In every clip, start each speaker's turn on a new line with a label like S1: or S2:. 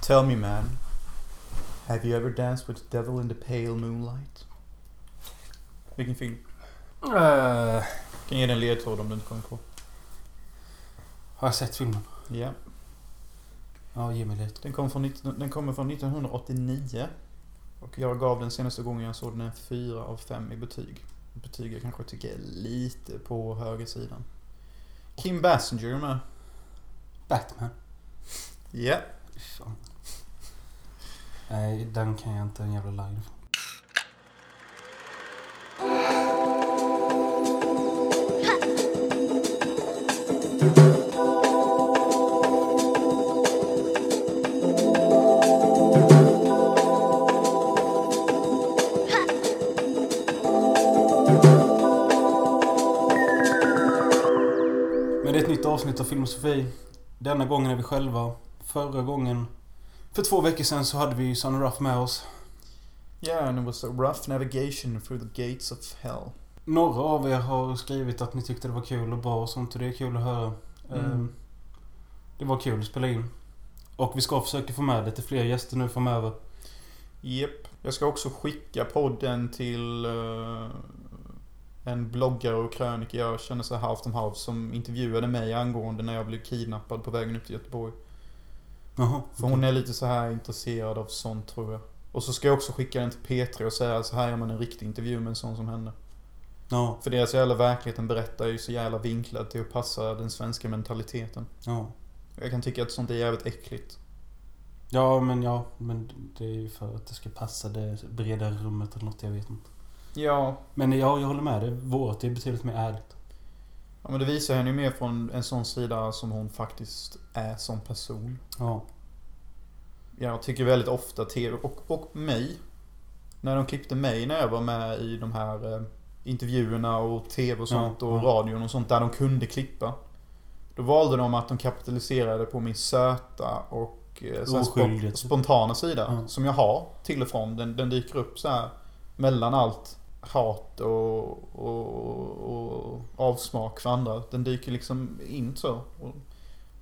S1: Tell me, man, have you ever danced with the devil in the pale moonlight? Vilken film?
S2: Eh,
S1: Kan ge dig en ledtråd om du inte kommer på.
S2: har jag sett filmen?
S1: Ja,
S2: Ja, ge mig lite.
S1: den, kom från 19, den kommer från 1989. Och jag gav den senaste gången jag såg den en 4 av 5 i betyg. Betyg jag kanske tycker är lite på högersidan. Kim Basinger är med.
S2: Batman.
S1: Ja.
S2: Fy fan. Nej, den kan jag inte en jävla line från. Men det är ett nytt avsnitt av Filmosofi. Denna gången är vi själva. Förra gången, för två veckor sedan, så hade vi ju Sunny Ruff med oss.
S1: Yeah, and it was a rough navigation through the gates of hell.
S2: Några av er har skrivit att ni tyckte det var kul och bra och sånt och det är kul att höra.
S1: Mm.
S2: Ehm, Det var kul att spela in. Och vi ska försöka få med lite fler gäster nu framöver.
S1: Jep. Jag ska också skicka podden till eh, en bloggare och krönikör jag känner så här halvt om halvt som intervjuade mig angående när jag blev kidnappad på vägen upp till Göteborg.
S2: Jaha.
S1: För hon är lite så här intresserad av sånt tror jag. Och så ska jag också skicka den till Petra och säga så här gör man en riktig intervju med en sån som henne.
S2: Ja,
S1: För deras jävla verkligheten berättar ju så jävla vinklad till att passa den svenska mentaliteten.
S2: ja.
S1: Jag kan tycka att sånt är jävligt äckligt.
S2: Ja, men ja. Men det är ju för att det ska passa det breda rummet eller något, jag vet inte.
S1: Ja,
S2: Men ja, jag håller med dig. Vårt är betydligt mer ärligt.
S1: Ja men det visar henne ju mer från en sån sida som hon faktiskt är som person.
S2: Ja.
S1: Jag tycker väldigt ofta TV och, och mig. När de klippte mig när jag var med i de här eh, intervjuerna och TV och sånt
S2: Ja,
S1: och
S2: ja.
S1: radion och sånt där de kunde klippa. Då valde de att de kapitaliserade på min söta och eh, så här
S2: Oskyldigt.
S1: spo- spontana sida.
S2: Ja.
S1: Som jag har till och från. Den, den dyker upp så här mellan allt hat och, och, och avsmak för andra. Den dyker liksom in så. Och-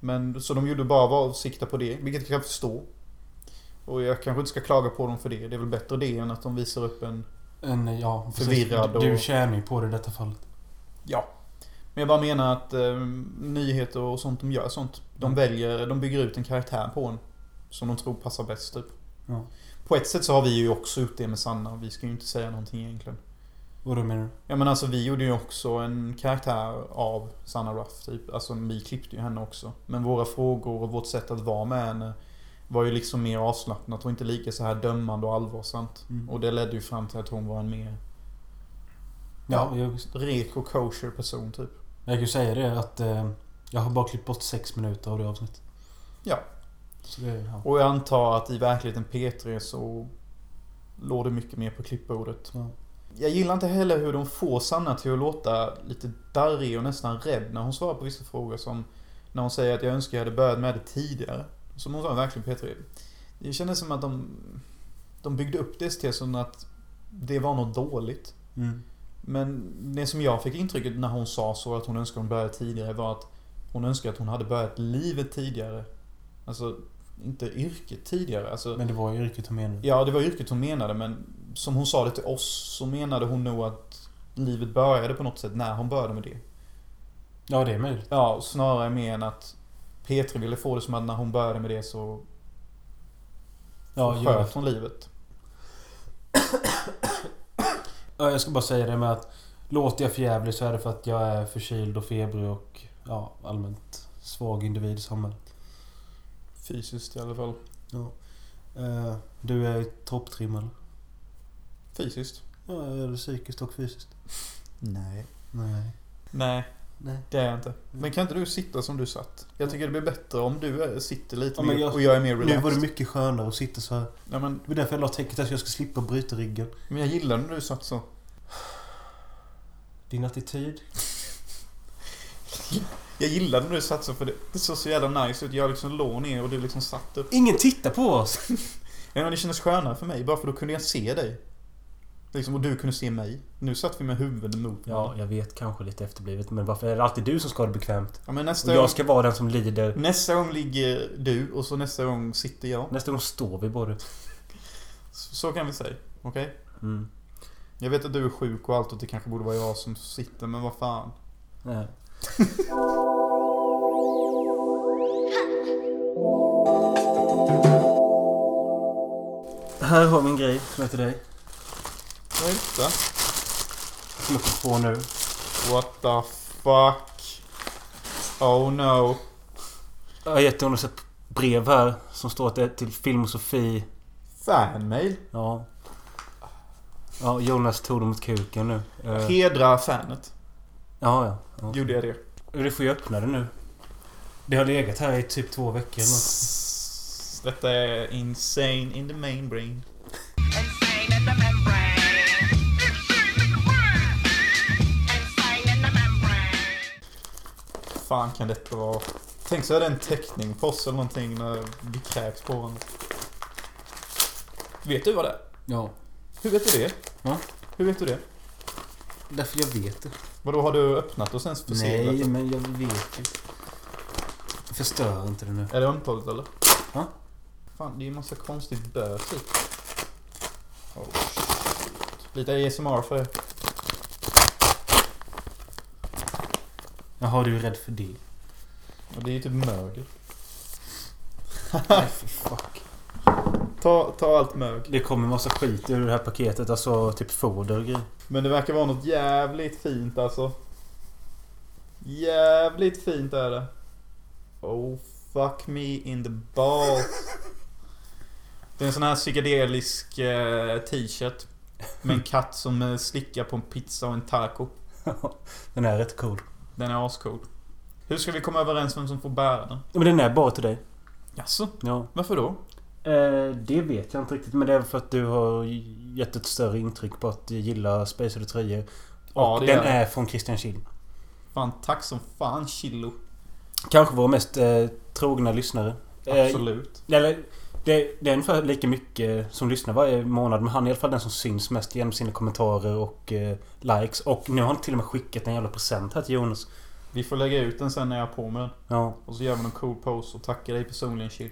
S1: Men så de gjorde bara var att sikta på det, vilket jag kan förstå. Och jag kanske inte ska klaga på dem för det. Det är väl bättre det än att de visar upp en...
S2: En, ja, precis.
S1: Förvirrad
S2: Du, du
S1: och-
S2: tjänar ju på det i detta fallet.
S1: Ja. Men jag bara menar att eh, nyheter och sånt, de gör sånt. De
S2: Mm.
S1: väljer, de bygger ut en karaktär på en. Som de tror passar bäst typ.
S2: Ja.
S1: På ett sätt så har vi ju också gjort det med Sanna. Vi ska ju inte säga någonting egentligen.
S2: Vadå menar du?
S1: Ja men alltså vi gjorde ju också en karaktär av Sanna Ruff typ. Alltså vi klippte ju henne också. Men våra frågor och vårt sätt att vara med henne var ju liksom mer avslappnat och inte lika så här dömande och allvarsamt.
S2: Mm.
S1: Och det ledde ju fram till att hon var en mer
S2: Ja, jag, visst.
S1: rek och kosher person typ.
S2: jag kan ju säga det att eh, jag har bara klippt bort sex minuter av det avsnittet.
S1: Ja.
S2: Så det, ja.
S1: Och jag antar att i verkligheten P3 så låg det mycket mer på klippbordet.
S2: Ja.
S1: Jag gillar inte heller hur de får Sanna till att låta lite darrig och nästan rädd när hon svarar på vissa frågor som när hon säger att jag önskar jag hade börjat med det tidigare. Som hon sa verkligen P3. Det kändes som att de, de byggde upp det till som att det var något dåligt.
S2: Mm.
S1: Men det som jag fick intrycket när hon sa så att hon önskade hon började tidigare var att hon önskade att hon hade börjat livet tidigare. Alltså, inte yrket tidigare. Alltså,
S2: Men det var ju riktigt hon menade.
S1: ja, det var yrket hon menade men som hon sa det till oss så menade hon nog att livet började på något sätt när hon började med det.
S2: Ja, det är möjligt.
S1: Ja, snarare mer än att Petri ville få det som att när hon började med det så
S2: Ja,
S1: sköt
S2: jag,
S1: hon livet.
S2: ja, jag ska bara säga det med att låter jag för jävlig så är det för att jag är förkyld och febrig och ja, allmänt svag individ i samhället.
S1: Fysiskt i alla fall.
S2: Ja. Eh, du är topptrim eller?
S1: Fysiskt?
S2: Ja, jag är psykiskt och fysiskt.
S1: Nej.
S2: Nej.
S1: Nej,
S2: Nej.
S1: Det är jag inte. Men kan inte du sitta som du satt? Jag tycker det blir bättre om du är- sitter lite
S2: Ja, men
S1: mer
S2: jag-
S1: och jag är mer relaxed.
S2: Nu var det mycket skönare att sitta så här.
S1: Nej, men,
S2: Det var därför jag la täcket att jag ska slippa bryta ryggen.
S1: men jag gillar när du satt så.
S2: Din attityd?
S1: Jag gillar när du satt så för det, det såg så jävla nice ut. Jag liksom låg ner och du liksom satt upp.
S2: Ingen tittar på oss!
S1: Ja, men det kändes skönare för mig bara för då kunde jag se dig. Liksom, och du kunde se mig. Nu satt vi med huvudet mot
S2: Ja,
S1: varandra.
S2: jag vet kanske lite efterblivet. Men varför är det alltid du som ska ha det bekvämt?
S1: ja men
S2: Och
S1: nästa gång,
S2: jag ska vara den som lider.
S1: nästa gång ligger du och så nästa gång sitter jag.
S2: Nästa gång står vi både.
S1: Så, så kan vi säga. Okej?
S2: Mm.
S1: Jag vet att du är sjuk och allt och det kanske borde vara jag som sitter men vad fan.
S2: Nej. Här har vi en grej som är till dig.
S1: Vad är detta?
S2: Som jag kom på nu.
S1: What the fuck? Oh no.
S2: Jag har gett honom ett brev här som står att det är till Film och Sofie.
S1: Fanmail?
S2: Ja. Ja, Jonas tog dem mot kuken nu. Eh,
S1: Hedra fanet.
S2: Ja, ja. ja.
S1: Gjorde jag det?
S2: Du får ju öppna det nu. Det har legat här i typ två veckor eller något.
S1: S- Detta är insane in the main brain.
S3: Insane in the membrane. Insane in the membrane. Insane in the membrane.
S1: fan kan detta vara? Tänk så är det en teckning på oss eller någonting när vi kräks på varandra. Vet du vad det är?
S4: Ja.
S1: Hur vet du det?
S4: Va?
S1: Hur vet du det?
S4: Därför jag vet det.
S1: Vadå, har du öppnat och sen förseglat
S4: Nej,
S1: det?
S4: men jag vet ju. Förstör inte det nu.
S1: Är det ömtåligt eller?
S4: Va?
S1: Fan, det är ju massa konstigt bös i. Oh, shit. Lite ASMR för er.
S2: Jaha, du är rädd för det.
S1: Och Det är ju typ mögel.
S4: Nej, för fuck.
S1: Ta, ta allt mög.
S2: Det kommer massa skit ur det här paketet. Alltså typ foder och grejer.
S1: Men det verkar vara något jävligt fint alltså. Jävligt fint är det. Oh fuck me in the balls. Det är en sån här psykedelisk eh, t-shirt. Med en katt som eh, slickar på en pizza och en taco.
S2: den är rätt cool.
S1: Den är ascool. Hur ska vi komma överens vem som får bära den?
S2: Ja, men den är bara till dig.
S1: Jaså?
S2: Ja.
S1: Varför då?
S2: Eh, det vet jag inte riktigt. Men det är för att du har gett ett större intryck på att du gillar Space Oddity 3.
S1: Ja,
S2: Och
S1: det
S2: den
S1: gör jag.
S2: är från Christian Kihl.
S1: Fan, tack som fan Chillo.
S2: Kanske vår mest eh, trogna lyssnare. Eh,
S1: Absolut.
S2: Eller, det, det är ungefär lika mycket som lyssnar varje månad. Men han är i alla fall den som syns mest genom sina kommentarer och eh, likes. Och nu har han till och med skickat en jävla present här till Jonas.
S1: Vi får lägga ut den sen när jag har på mig den.
S2: Ja,
S1: Och så gör vi någon cool pose och tackar dig personligen Chill.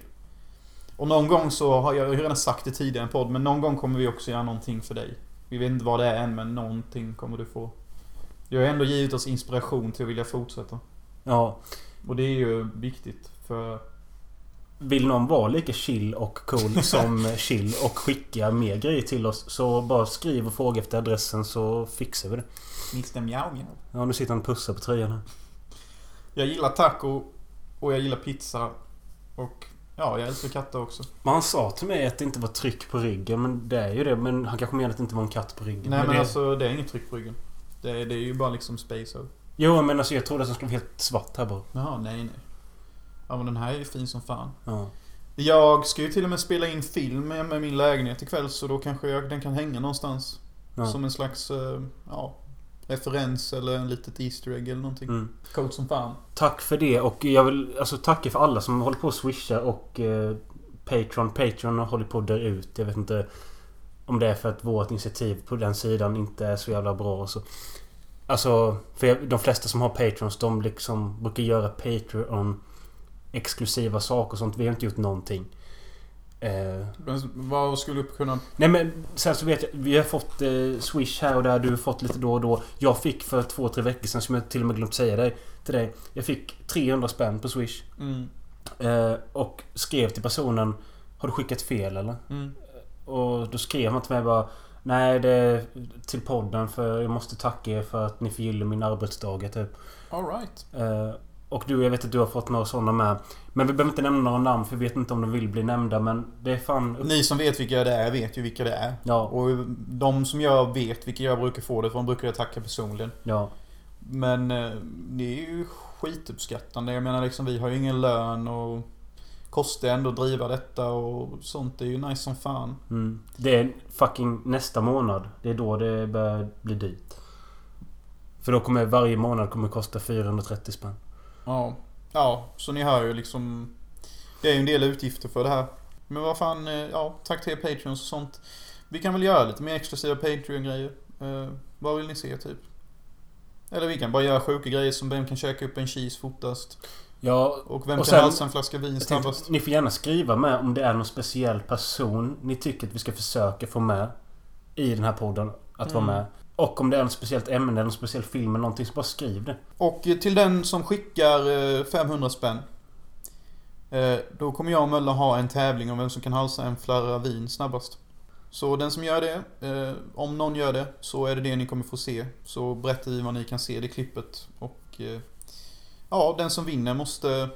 S1: Och någon gång så har jag, jag har redan sagt det tidigare i en podd, men någon gång kommer vi också göra någonting för dig. Vi vet inte vad det är än, men någonting kommer du få. Du har ändå givit oss inspiration till att vilja fortsätta.
S2: ja.
S1: Och det är ju viktigt för...
S2: Vill någon vara lika chill och cool som chill och skicka mer grejer till oss så bara skriv och fråga efter adressen så fixar vi det.
S1: Mr Mjau Mjau.
S2: Ja, nu sitter han och pussar på tröjan här.
S1: Jag gillar taco och jag gillar pizza. Och ja, jag älskar katter också.
S2: Men han sa till mig att det inte var tryck på ryggen. Men det är ju det. Men han kanske menar att det inte var en katt på ryggen.
S1: Nej men
S2: det...
S1: alltså det är inget tryck på ryggen. Det är, det är ju bara liksom space out.
S2: Jo, men alltså jag trodde att den skulle vara helt svart här bara.
S1: Jaha, nej nej. Ja men den här är ju fin som fan.
S2: Ja.
S1: Jag ska ju till och med spela in film med med min lägenhet ikväll så då kanske jag, den kan hänga någonstans.
S2: ja.
S1: Som en slags, eh, ja, referens eller en litet Easter egg eller någonting.
S2: Mm.
S1: Coolt som fan.
S2: Tack för det och jag vill alltså tacka för alla som håller på och swishar och eh, Patreon. Patreon håller på att dö ut. Jag vet inte om det är för att vårt initiativ på den sidan inte är så jävla bra. och Så. Alltså, för jag, de flesta som har Patreons de liksom brukar göra Patreon exklusiva saker och sånt. Vi har inte gjort någonting. Eh,
S1: Men vad skulle du kunna...
S2: Nej men sen så vet jag, vi har fått eh, Swish här och där, du har fått lite då och då. Jag fick för två, tre veckor sedan, som jag till och med glömt säga dig, till dig. Jag fick 300 spänn på Swish.
S1: Mm,
S2: Eh, och skrev till personen Har du skickat fel eller?
S1: mm,
S2: Och då skrev han till mig bara Nej det är till podden för jag måste tacka er för att ni förgyller min arbetsdag typ.
S1: alright.
S2: Eh, och du, jag vet att du har fått några sådana med. Men vi behöver inte nämna några namn för vi vet inte om de vill bli nämnda men det är fan... upp-
S1: Ni som vet vilka det är vet ju vilka det är.
S2: Ja,
S1: Och de som jag vet vilka jag brukar få det från brukar jag tacka personligen.
S2: ja.
S1: Men eh, det är ju skituppskattande. Jag menar liksom vi har ju ingen lön och kostar ändå att driva detta och sånt. Det är ju nice som fan.
S2: Mm. Det är fucking nästa månad. Det är då det börjar bli dyrt. För då kommer varje månad kommer kosta 430 spänn.
S1: Ja. Ja, så ni hör ju liksom. Det är ju en del utgifter för det här. Men vad fan, eh, ja, tack till er patreons och sånt. Vi kan väl göra lite mer exklusiva Patreon-grejer. Eh, vad vill ni se typ? Eller vi kan bara göra sjuka grejer som vem kan käka upp en cheese fortast?
S2: Ja,
S1: Och vem
S2: Och
S1: kan
S2: sen-
S1: halsa en flaska vin
S2: jag tänkte,
S1: snabbast?
S2: ni får gärna skriva med om det är någon speciell person ni tycker att vi ska försöka få med i den här podden. Att vara
S1: Mm.
S2: med. Och om det är något speciellt ämne, någon speciell film eller någonting, så bara skriv det.
S1: Och eh, till den som skickar eh, 500 spänn. eh, Då kommer jag och Mölla ha en tävling om vem som kan halsa en flarra vin snabbast. Så den som gör det, eh, om någon gör det, så är det det ni kommer få se. Så berättar vi vad ni kan se i det klippet. Och eh, ja, den som vinner måste,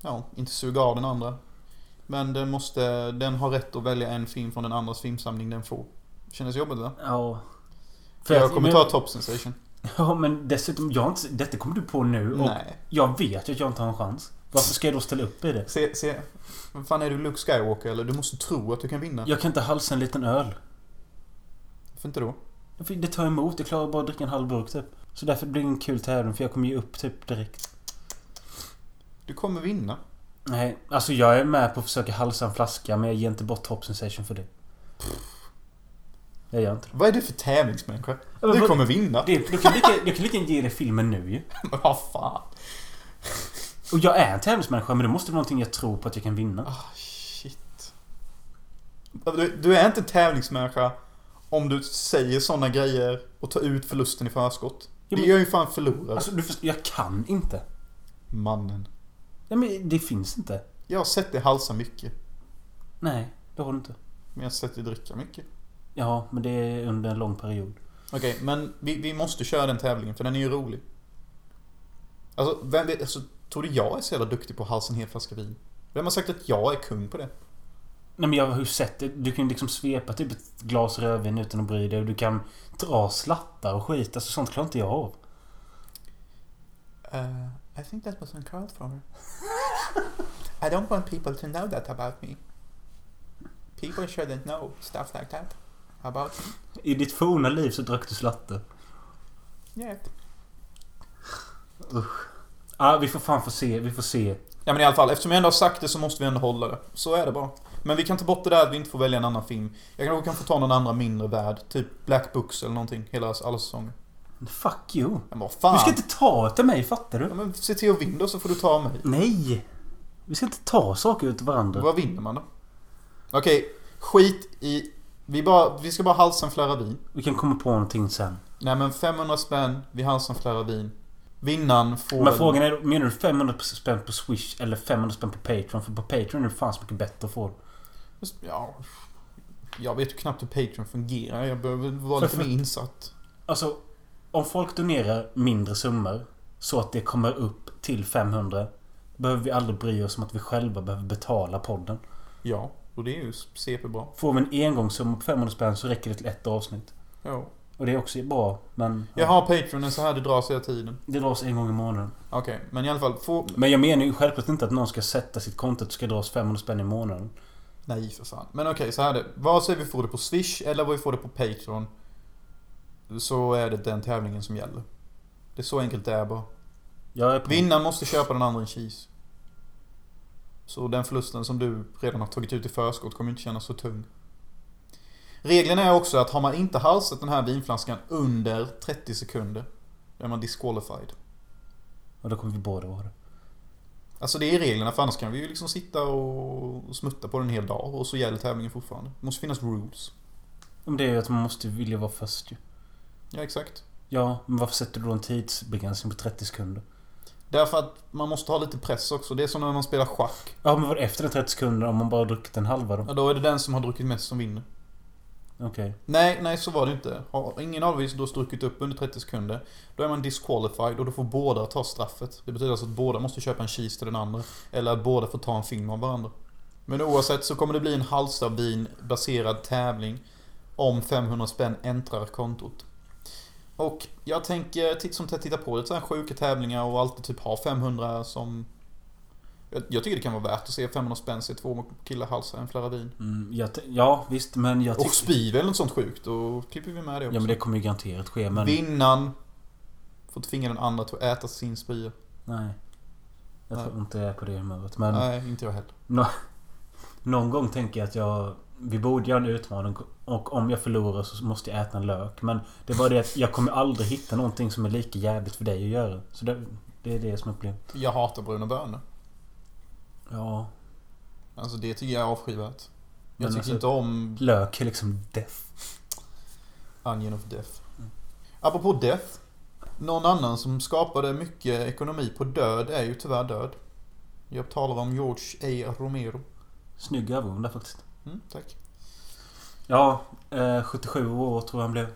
S1: ja, inte suga av den andra. Men den måste, den har rätt att välja en film från den andras filmsamling den får. Kändes jobbigt va?
S2: Ja.
S1: För jag
S2: att-
S1: kommer
S2: men-
S1: ta Top Sensation.
S2: Ja, men dessutom, jag har inte, detta kommer du på nu. Och
S1: Nej.
S2: jag vet ju att jag inte har en chans. Varför ska jag då ställa upp i det?
S1: Se, se. Vad fan är du Luke Skywalker eller? Du måste tro att du kan vinna.
S2: Jag kan inte halsa en liten öl.
S1: Varför inte då?
S2: För Det tar emot. Jag klarar bara att dricka en halv burk typ. Så därför blir det ingen kul tävling för jag kommer ge upp typ direkt.
S1: Du kommer vinna.
S2: Nej, alltså jag är med på att försöka halsa en flaska men jag ger inte bort Top Sensation för det. Jag gör inte
S1: Vad är du för tävlingsmänniska?
S2: men
S1: Du
S2: vad-
S1: kommer vinna.
S2: det. det du kan lika, jag kan lika gärna ge dig filmen nu ju.
S1: Vad fan.
S2: Och jag är en tävlingsmänniska men det måste vara någonting jag tror på att jag kan vinna.
S1: Ah, shit. Du, du är inte en tävlingsmänniska om du säger sådana grejer och tar ut förlusten i förskott.
S2: Ja,
S1: Det
S2: men-
S1: gör ju fan förlorare.
S2: Alltså du förstår, jag kan inte.
S1: Mannen.
S2: Nej men det finns inte.
S1: Jag har sett dig halsa mycket.
S2: Nej, det har du inte.
S1: Men jag har sett dig dricka mycket.
S2: Ja, men det är under en lång period.
S1: Okej, men vi, vi måste köra den tävlingen för den är ju rolig. Alltså, vem vet, alltså, tror du jag är så jävla duktig på att halsa en hel flaska vin? Vem har sagt att jag är kung på det?
S2: Nej men jag har ju sett det. Du kan ju liksom svepa typ ett glas rödvin utan att bry dig. Och du kan dra slattar och skit. Alltså sånt klarar inte jag av.
S1: Uh, I think that was on crowd for her. I don't want people to know that about me. People shouldn't know stuff like that about me.
S2: I ditt forna liv så drack du slatte.
S1: Yeah.
S2: Ja, Ah, vi får fan få se. Vi får se.
S1: Ja men i alla fall, eftersom jag ändå har sagt det så måste vi ändå hålla det. Så är det bara. Men vi kan ta bort det där att vi inte får välja en annan film. Jag kanske kan få ta någon annan mindre värld. Typ Black Books eller någonting. Hela, alla säsonger.
S2: Fuck you.
S1: Men vad fan.
S2: Du ska inte ta till mig, fattar
S1: Ja,
S2: du?
S1: men se till att vinna då så får du ta mig.
S2: Nej! Vi ska inte ta saker ut varandra.
S1: Vad vinner man då? Okej, skit i... Vi, bara, vi ska bara halsa en flera vin.
S2: Vi kan komma på någonting sen.
S1: Nej men 500 spänn, vi halsar en flera vin. Vinnaren får...
S2: Men frågan är, menar du 500 spänn på Swish eller 500 spänn på Patreon? För på Patreon är det fan så mycket bättre att få.
S1: Ja, jag vet ju knappt hur Patreon fungerar. Jag behöver vara
S2: För-
S1: lite mer insatt.
S2: Alltså, om folk donerar mindre summor så att det kommer upp till 500 behöver vi aldrig bry oss om att vi själva behöver betala podden.
S1: Ja, och det är ju CP bra.
S2: Får vi en engångssumma på 500 spänn så räcker det till ett avsnitt.
S1: Ja.
S2: Och det är också bra, men...
S1: Jag har Patreon så här det dras hela tiden.
S2: Det dras en gång i månaden.
S1: Okej, men i alla fall få...
S2: Men jag menar ju självklart inte att någon ska sätta sitt konto att det ska dras 500 spänn i månaden.
S1: Nej för fan. Men okej, så här är det. Vare sig vi får det på Swish eller vi får det på Patreon. Så är det den tävlingen som gäller. Det är så enkelt det är bara.
S2: Jag är på...
S1: Vinnaren måste köpa den andra en cheese. Så den förlusten som du redan har tagit ut i förskott kommer inte kännas så tung. Reglerna är också att har man inte halsat den här vinflaskan under 30 sekunder, då är man disqualified.
S2: Och då kommer vi båda vara det.
S1: Alltså det är reglerna, för annars kan vi ju liksom sitta och smutta på den en hel dag och så gäller tävlingen fortfarande. Det måste finnas rules.
S2: Men det är ju att man måste vilja vara först ju.
S1: Ja, exakt.
S2: Ja, men varför sätter du då en tidsbegränsning på 30 sekunder?
S1: Därför att man måste ha lite press också. Det är som när man spelar schack.
S2: Ja, men vad efter den 30 sekunder om man bara har druckit en halva då?
S1: Ja, då är det den som har druckit mest som vinner.
S2: Okej.
S1: Nej, nej så var det inte. Har ingen av er då strukit upp under 30 sekunder, då är man disqualified och då får båda ta straffet. Det betyder alltså att båda måste köpa en cheese till den andra, eller att båda får ta en film av varandra. Men oavsett så kommer det bli en Halstavin-baserad tävling om 500 spänn äntrar kontot. Och jag tänker titt som tätt titta på lite sådana sjuka tävlingar och alltid typ ha 500 som... Jag, jag tycker det kan vara värt att se 500 spänn se två killar halsa en flera vin.
S2: Mm, jag t- ja, visst, men jag
S1: Och
S2: tycker...
S1: spyr eller något sånt sjukt, då klipper vi med det
S2: Ja,
S1: också.
S2: men det kommer ju garanterat ske, men...
S1: Vinnaren får tvinga den andra till att äta sin spya.
S2: Nej. Jag tror
S1: Nej.
S2: inte jag är på det humöret, men...
S1: Nej, inte jag heller.
S2: Någon gång tänker jag att jag... Vi borde göra en utmaning och om jag förlorar så måste jag äta en lök. Men det är bara det att jag kommer aldrig hitta någonting som är lika jävligt för dig att göra. Så det, det är det som är problemet.
S1: Jag hatar bruna bönor.
S2: Ja.
S1: Alltså det tycker jag är avskyvärt. Jag
S2: Men
S1: tycker
S2: alltså-
S1: inte om
S2: Lök är liksom death.
S1: Onion of Death.
S2: Mm.
S1: Apropå Death. Någon annan som skapade mycket ekonomi på död är ju tyvärr död. Jag talar om George A. Romero.
S2: Snygg övergång där faktiskt.
S1: Mm, tack.
S2: Ja, eh, 77 år tror jag han blev.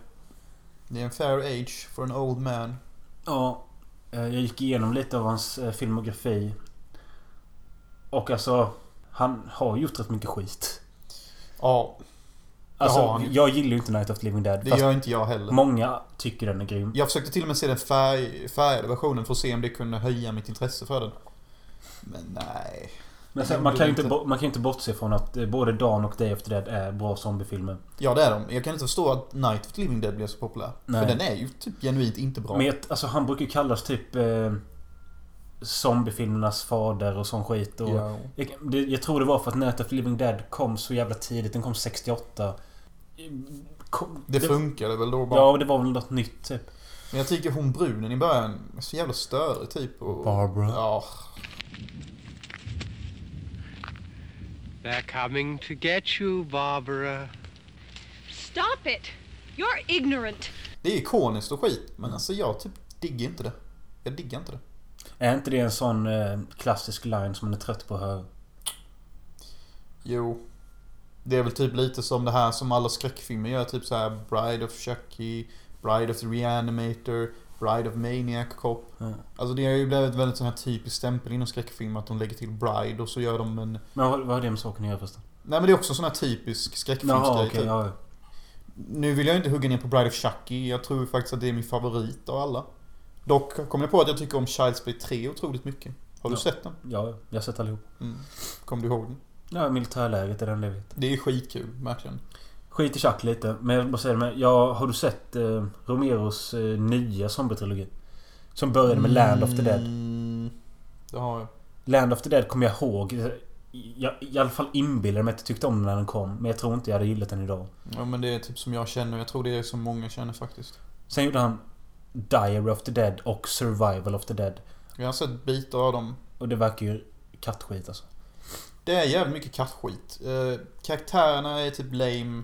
S1: Det är en fair age for an old man.
S2: Ja, eh, jag gick igenom lite av hans eh, filmografi. Och alltså, han har gjort rätt mycket skit.
S1: Ja, Det
S2: Alltså,
S1: har han ju.
S2: jag gillar ju inte Night of the Living Dead.
S1: det
S2: Fast
S1: gör inte jag heller.
S2: många tycker den är grym.
S1: Jag försökte till och med se den färg, färgade versionen för att se om det kunde höja mitt intresse för den. Men nej.
S2: Men
S1: det
S2: sen, man, kan ju
S1: går
S2: inte,
S1: inte.
S2: bo- man kan ju inte bortse från att eh, både Dan och Day of the Dead är bra zombiefilmer.
S1: Ja, det är de. Jag kan inte förstå att Night of the Living Dead blev så populär.
S2: Nej.
S1: För den är ju typ genuint inte bra.
S2: Men jag- alltså, han brukar ju kallas typ... Eh, zombiefilmernas fader och sån skit. Och,
S1: Ja.
S2: Jag, det, jag tror det var för att Night of the Living Dead kom så jävla tidigt. Den kom 68. Kom,
S1: Det funkade väl då bara.
S2: Ja, det var väl något nytt typ.
S1: Men jag tycker hon brunen i början är så jävla störig typ. Och,
S2: Barbara.
S1: Ja.
S5: They're coming to get you, Barbara.
S6: Stop it! You're ignorant.
S1: Det är ikoniskt och skit. Men alltså jag typ digger inte det. Jag diggar inte det.
S2: Är inte det en sån eh, klassisk line som man är trött på att höra?
S1: Jo. Det är väl typ lite som det här som alla skräckfilmer gör. Typ så här Bride of Chucky, Bride of the Reanimator, Bride of Maniac Cop.
S2: Ja.
S1: Alltså det har ju blivit väldigt sån här typisk stämpel inom skräckfilm att de lägger till Bride och så gör de en...
S2: Men vad, vad har det med saken att göra förresten?
S1: Nej men det är också sån här typisk skräckfilmsgrej.
S2: Jaha, okej.
S1: typ.
S2: ja, ja.
S1: Nu vill jag inte hugga ner på Bride of Chucky. Jag tror faktiskt att det är min favorit av alla. Dock kom jag på att jag tycker om Child's Play 3 otroligt mycket. Har du
S2: Ja.
S1: sett den?
S2: ja, jag har sett allihop.
S1: Mm. Kommer du ihåg den?
S2: Ja, militärlägret är den lever i.
S1: Det är skitkul, verkligen.
S2: Skit i tjack lite. Men jag vill bara säga det med. Jag, har du sett eh, Romeros eh, nya zombietrilogi? Som började med Land of the Dead.
S1: Mm, det har jag.
S2: Land of the Dead kommer jag ihåg. Jag, I alla fall inbillade mig att jag tyckte om den när den kom. Men jag tror inte jag hade gillat den idag.
S1: Ja men det är typ som jag känner. Jag tror det är som många känner faktiskt.
S2: Sen gjorde han Diary of the Dead och Survival of the Dead.
S1: Jag har sett bitar av dem.
S2: Och det verkar ju kattskit alltså.
S1: Det är jävligt mycket kattskit. Eh, karaktärerna är typ lame.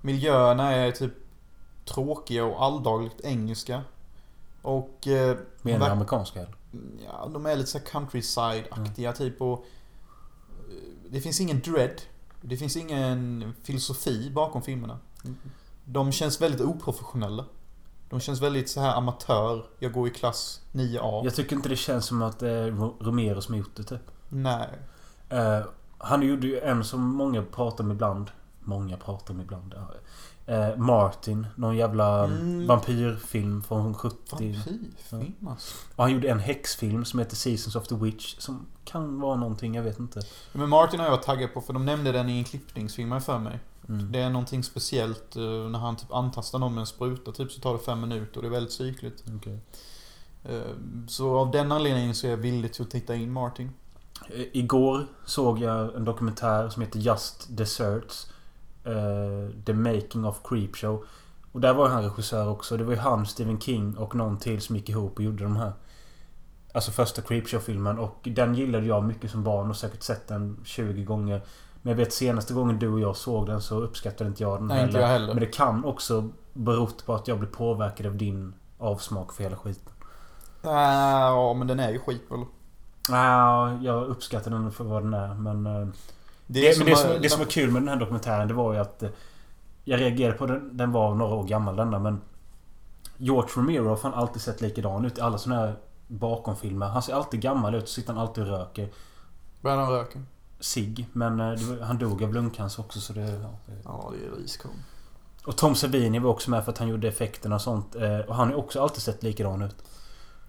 S1: Miljöerna är typ tråkiga och alldagligt engelska. Och... Eh,
S2: Mer än
S1: verk-
S2: amerikanska eller?
S1: Ja, de är lite så här countryside-aktiga typ och... eh, Det finns ingen dread. Det finns ingen filosofi bakom filmerna. De känns väldigt oprofessionella. De känns väldigt så här amatör. Jag går i klass 9A.
S2: Jag tycker inte det känns som att det är Ro- Romero som har gjort det typ.
S1: Nej.
S2: Eh, han gjorde ju en som många pratar om ibland. Många pratar om ibland. ja. Eh, Martin. Någon jävla
S1: Mm.
S2: vampyrfilm från 70.
S1: Vampyrfilm alltså.
S2: Och han gjorde en häxfilm som heter Seasons of the Witch. Som kan vara någonting, jag vet inte.
S1: Men Martin har jag varit taggad på för de nämnde den i en klippningsfilm här för mig.
S2: Mm.
S1: Det är någonting speciellt eh, när han typ antastar någon med en spruta typ så tar det fem minuter och det är väldigt cykligt.
S2: Okej.
S1: Eh, Så av den anledningen så är jag villig till att titta in Martin.
S2: Eh, Igår såg jag en dokumentär som heter Just Desserts. eh, The Making of Creepshow. Och där var han regissör också. Det var ju han, Stephen King och någon till som gick ihop och gjorde de här. Alltså första Creepshow-filmen och den gillade jag mycket som barn och säkert sett den 20 gånger. Men jag vet senaste gången du och jag såg den så uppskattade inte jag den
S1: Nej, inte jag heller.
S2: Men det kan också berott på att jag blev påverkad av din avsmak för hela skiten.
S1: Ah, ja, men den är ju skit väl?
S2: Ja, jag uppskattar den för vad den är men... eh,
S1: Det
S2: Det,
S1: är som
S2: men det,
S1: att-
S2: som, det som var kul med den här dokumentären det var ju att eh, Jag reagerade på den, den var några år gammal denna men George Romero har fan alltid sett likadan ut i alla såna här bakomfilmer. Han ser alltid gammal ut, så sitter han alltid och röker
S1: Brandon röker.
S2: sig Men eh, det var, han dog av lungcancer också så det... Ja, det.
S1: Ja, det är riskorn.
S2: Och Tom Savini var också med för att han gjorde effekterna och sånt. eh, Och han har också alltid sett likadan ut.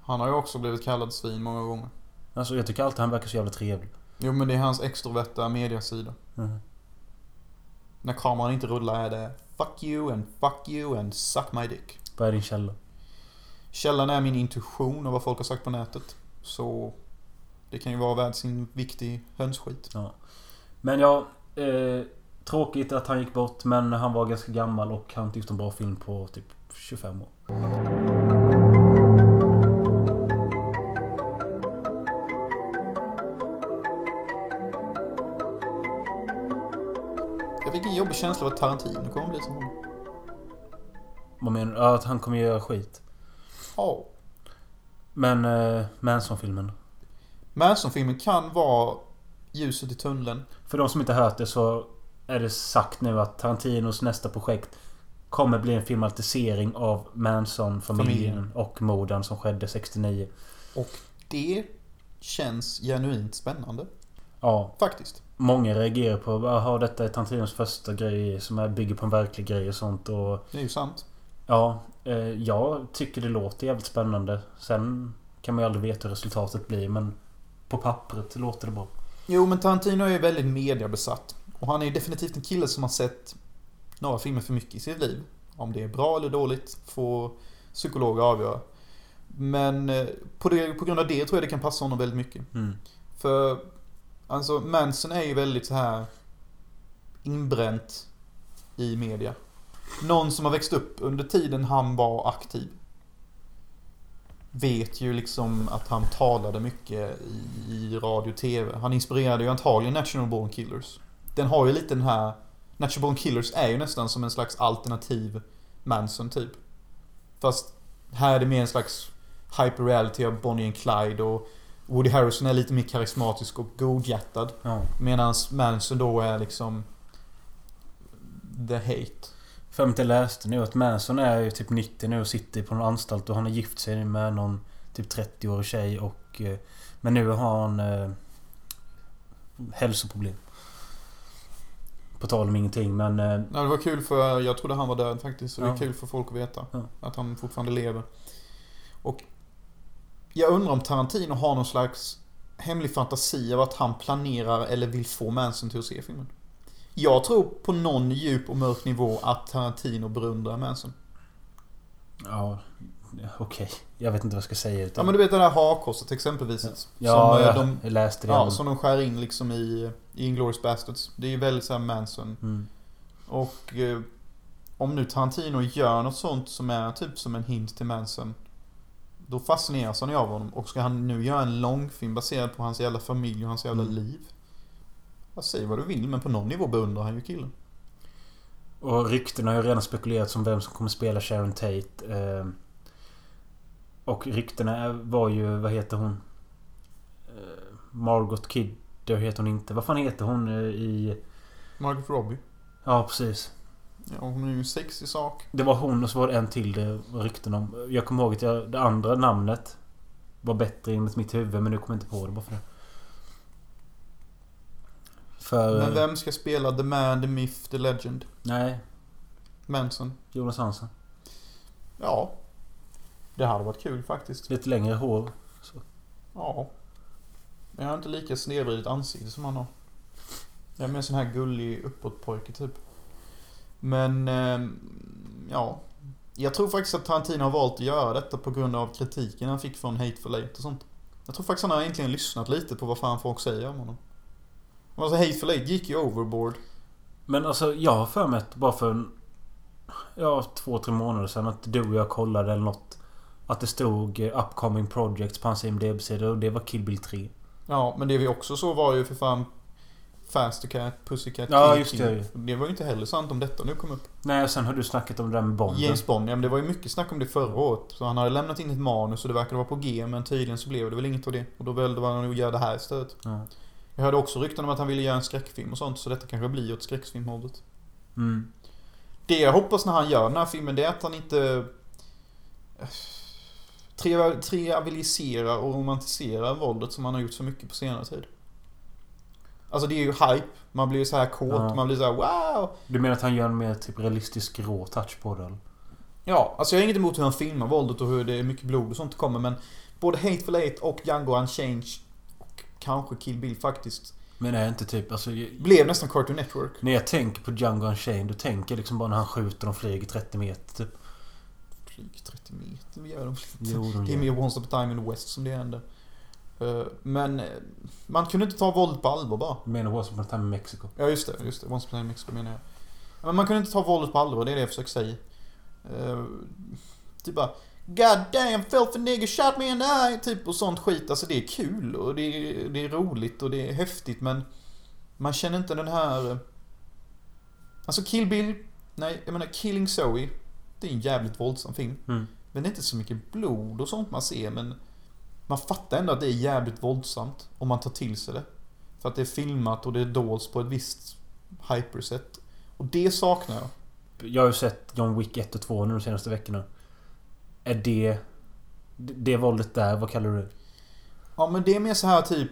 S1: Han har ju också blivit kallad svin många gånger.
S2: Alltså jag tycker alltid han verkar så jävla trevlig.
S1: Jo, men det är hans extroverta mediasida.
S2: Mhm.
S1: När kameran inte rullar är det Fuck you and fuck you and suck my dick.
S2: Vad är din källa?
S1: Källan är min intuition och vad folk har sagt på nätet. Så det kan ju vara värd sin viktig hönsskit.
S2: Men ja, Eh, tråkigt att han gick bort men han var ganska gammal och han tyckte en bra film på typ 25 år.
S1: Jag fick en jobbig känsla av att Tarantino kommer bli som honom.
S2: Vad menar du? Ja, att han kommer göra skit.
S1: Ja.
S2: Men eh, Manson-filmen.
S1: Manson-filmen kan vara ljuset i tunneln.
S2: För de som inte hört det så är det sagt nu att Tarantinos nästa projekt kommer bli en filmatisering av Manson-familjen
S1: Familjen.
S2: och morden som skedde 69.
S1: Det känns genuint spännande.
S2: Ja,
S1: Faktiskt.
S2: många reagerar på att detta är Tarantinos första grej som är, bygger på en verklig grej och sånt. Och
S1: Det är ju sant.
S2: ja, eh, jag tycker det låter jävligt spännande. Sen kan man ju aldrig veta hur resultatet blir men på pappret låter det bra.
S1: Jo, men Tarantino är ju väldigt mediebesatt. Och han är ju definitivt en kille som har sett några filmer för mycket i sitt liv. Om det är bra eller dåligt får psykologer avgöra. Men eh, på, det, på grund av det tror jag det kan passa honom väldigt mycket.
S2: Mm.
S1: För alltså Manson är ju väldigt så här inbränt i media. Någon som har växt upp under tiden han var aktiv. Vet ju liksom att han talade mycket i- i radio och TV. Han inspirerade ju antagligen National Born Killers. Den har ju lite den här... National Born Killers är ju nästan som en slags alternativ Manson typ. Fast här är det mer en slags hyperreality av Bonnie and Clyde och Woody Harrison är lite mer karismatisk och godhjärtad.
S2: Ja.
S1: Medan Manson då är liksom... The hate.
S2: För jag inte läste nu att Manson är ju typ 90 nu och sitter på någon anstalt och han har gift sig med någon typ 30-årig tjej och... eh, Men nu har han... Eh, hälsoproblem. På tal om ingenting men... Eh,
S1: Nej, det var kul för jag trodde han var död faktiskt. Så det
S2: Ja.
S1: är kul för folk att veta.
S2: Ja.
S1: Att han fortfarande lever. Och jag undrar om Tarantino har någon slags hemlig fantasi av att han planerar eller vill få Manson till att se filmen. Jag tror på någon djup och mörk nivå att Tarantino beundrar Manson.
S2: ja... Okej. Jag vet inte vad jag ska säga
S1: Ja
S2: utan...
S1: men du vet det där hakkorset exempelvis.
S2: Ja,
S1: som eh,
S2: jag,
S1: de
S2: jag läste det.
S1: Ja, som de skär in liksom i, i Inglourious Basterds. Det är ju väldigt såhär Manson.
S2: mm.
S1: Och eh, om nu Tarantino gör något sånt som är typ som en hint till Manson. Då fascineras han ju av honom. Och ska han nu göra en långfilm baserad på hans jävla familj och hans jävla
S2: Mm.
S1: liv. Jag säger vad du vill men på någon nivå beundrar han ju killen.
S2: Och ryktena har ju redan spekulerats om vem som kommer spela Sharon Tate. Eh, och ryktena är- var ju... Vad heter hon? Eh, Margot Kidder heter hon inte. Vad fan heter hon eh, i...
S1: Margaret Robbie.
S2: Ja, precis.
S1: Ja, hon är ju en sexig sak.
S2: Det var hon och så var det en till det var rykten om. Jag kommer ihåg att jag, det andra namnet var bättre enligt mitt huvud men nu kommer jag inte på det bara för det. För...
S1: Men vem ska spela The Man, The Myth, The Legend?
S2: Nej,
S1: Manson?
S2: Jonas Hansen.
S1: Ja. Det hade varit kul faktiskt.
S2: Lite längre hår.
S1: Ja. Men jag har inte lika snedvridet ansikte som han har. Jag är mer sån här gullig uppåtpojke typ. Men, ehm, ja. Jag tror faktiskt att Tarantino har valt att göra detta på grund av kritiken han fick från Hateful Eight och sånt. Jag tror faktiskt han har egentligen lyssnat lite på vad fan folk säger om honom. Alltså Hateful Eight gick ju overboard.
S2: Men alltså jag har för mig att bara för en, Ja, två, tre månader sedan att du och jag kollade eller något. Att det stod eh, Upcoming Projects på hans IMDB-sida och det var Kill Bill 3.
S1: Ja, men det vi också så var ju för fan Fast the Cat, Pussycat,
S2: Ja,
S1: Kill
S2: just
S1: Kill.
S2: det.
S1: Det var ju inte heller sant om detta nu kom upp.
S2: Nej, och sen har du snackat om det där med Bond.
S1: James Bond, ja men det var ju mycket snack om det förra året. Så han hade lämnat in ett manus och det verkade vara på G men tydligen så blev det väl inget av det. Och då valde han att göra det här istället.
S2: Ja.
S1: Jag hörde också rykten om att han ville göra en skräckfilm och sånt så detta kanske blir åt skräckfilmhållet.
S2: Mm.
S1: Det jag hoppas när han gör den här filmen det är att han inte... eh, triva- Trivialiserar och romantiserar våldet som han har gjort så mycket på senare tid. Alltså det är ju hype. Man blir ju så här kåt.
S2: Ja.
S1: Man blir så här wow!
S2: Du menar att han gör en mer typ realistisk rå touch på det? eller?
S1: Ja, alltså jag har inget emot hur han filmar våldet och hur det är mycket blod och sånt det kommer men både Hateful Eight och Django Unchained och kanske Kill Bill faktiskt
S2: Men är inte typ, alltså... jag-
S1: blev nästan Cartoon Network.
S2: När jag tänker på Django Unchained, då tänker jag liksom bara när han skjuter och de flyger 30 meter typ.
S1: Flyg 30 meter, vi gör dem
S2: Jo, de
S1: Det är
S2: gör.
S1: mer Once upon a time in the West som det händer. Eh, Men eh, man kunde inte ta våld på allvar bara.
S2: Du menar Once upon a time in Mexico?
S1: Ja just det, just det. Once upon a time in Mexico menar jag. Ja, Men man kunde inte ta våldet på allvar, det är det jag försöker säga. Eh, typ bara God damn filthy nigger shot me in the eye. Typ och sånt skit. Alltså det är kul och det är, det är roligt och det är häftigt men man känner inte den här... eh, Alltså Kill Bill, nej jag menar Killing Zoe. Det är en jävligt våldsam film.
S2: Mm.
S1: Men det är inte så mycket blod och sånt man ser men man fattar ändå att det är jävligt våldsamt om man tar till sig det. För att det är filmat och det dolts på ett visst hypersätt. Och det saknar jag.
S2: Jag har ju sett John Wick 1 och 2 nu de senaste veckorna. Är det... Det det våldet där, vad kallar du det?
S1: Ja men det är mer så här typ...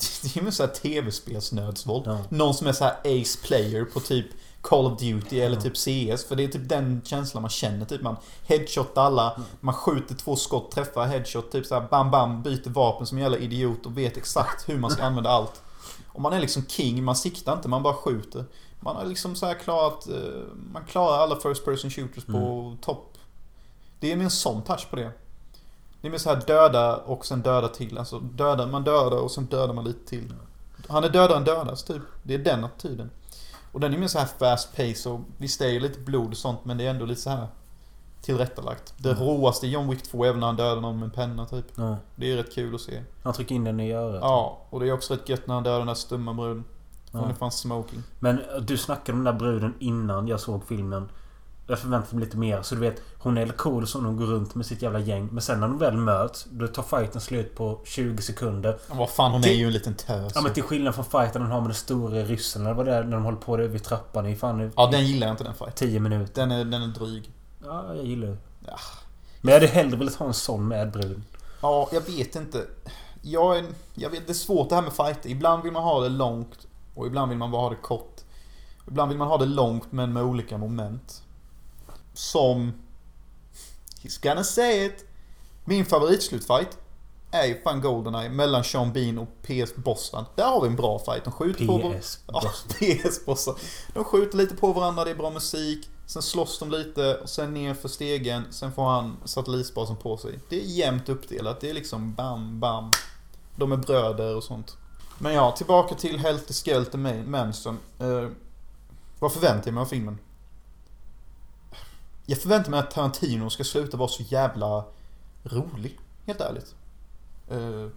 S1: Det är mer så här tv-spelsnödsvåld.
S2: Ja.
S1: Någon som är så här ace player på typ Call of Duty eller typ CS. För det är typ den känslan man känner. Typ man headshotar alla, man skjuter två skott, träffar headshot, typ så här bam bam, byter vapen som en jävla idiot och vet exakt hur man ska använda allt. Och man är liksom king, man siktar inte, man bara skjuter. Man har liksom så här klarat, eh, man klarar alla first person shooters på topp. Det är mer en sån touch på det. Det är mer så här döda och sen döda till. Alltså döda, man dödar och sen dödar man lite till. Han är dödare än dödas typ. Det är den attityden. Och den är mer så här fast pace och visst det är ju lite blod och sånt men det är ändå lite så här tillrättalagt. Det råaste i John Wick 2 är väl när han dödar någon med en penna typ.
S2: Ja.
S1: Det är rätt kul att se.
S2: Han trycker in den i örat.
S1: Ja, och det är också rätt gött när han dödar den där stumma bruden. Hon
S2: Ja.
S1: är fan smoking.
S2: Men du snackade om den där bruden innan jag såg filmen. Jag förväntade mig lite mer. Så du vet, hon är cool som hon går runt med sitt jävla gäng. Men sen när de väl möts, då tar fighten slut på 20 sekunder.
S1: Men Vad fan, hon är
S2: Till-
S1: ju en liten tös.
S2: Ja men till skillnad från fighten hon har med den stora ryssen eller vad det är, när de håller på där vid trappan i fan i
S1: Ja, den gillar jag inte den fighten.
S2: 10 minuter.
S1: Den är, den är dryg.
S2: Ja, jag gillar det.
S1: Ja.
S2: Men jag hade hellre velat ha en sån med brud.
S1: Ja, jag vet inte. Jag, är, jag vet, det är svårt det här med fighter. Ibland vill man ha det långt och ibland vill man bara ha det kort. Ibland vill man ha det långt men med olika moment. Som... He's gonna say it! Min favoritslutfight är ju fan Goldeneye mellan Sean Bean och PS Bosman. Där har vi en bra fight. De skjuter på... var-
S2: PS.
S1: Ja, PS-bossar. De skjuter lite på varandra, det är bra musik. Sen slåss de lite och sen ner för stegen. Sen får han satellitbasen på sig. Det är jämnt uppdelat. Det är liksom bam, bam. De är bröder och sånt. Men ja, tillbaka till Helter Skelter Ma- Manson. Eh, vad förväntar jag mig av filmen? Jag förväntar mig att Tarantino ska sluta vara så jävla rolig. Helt ärligt. Eh,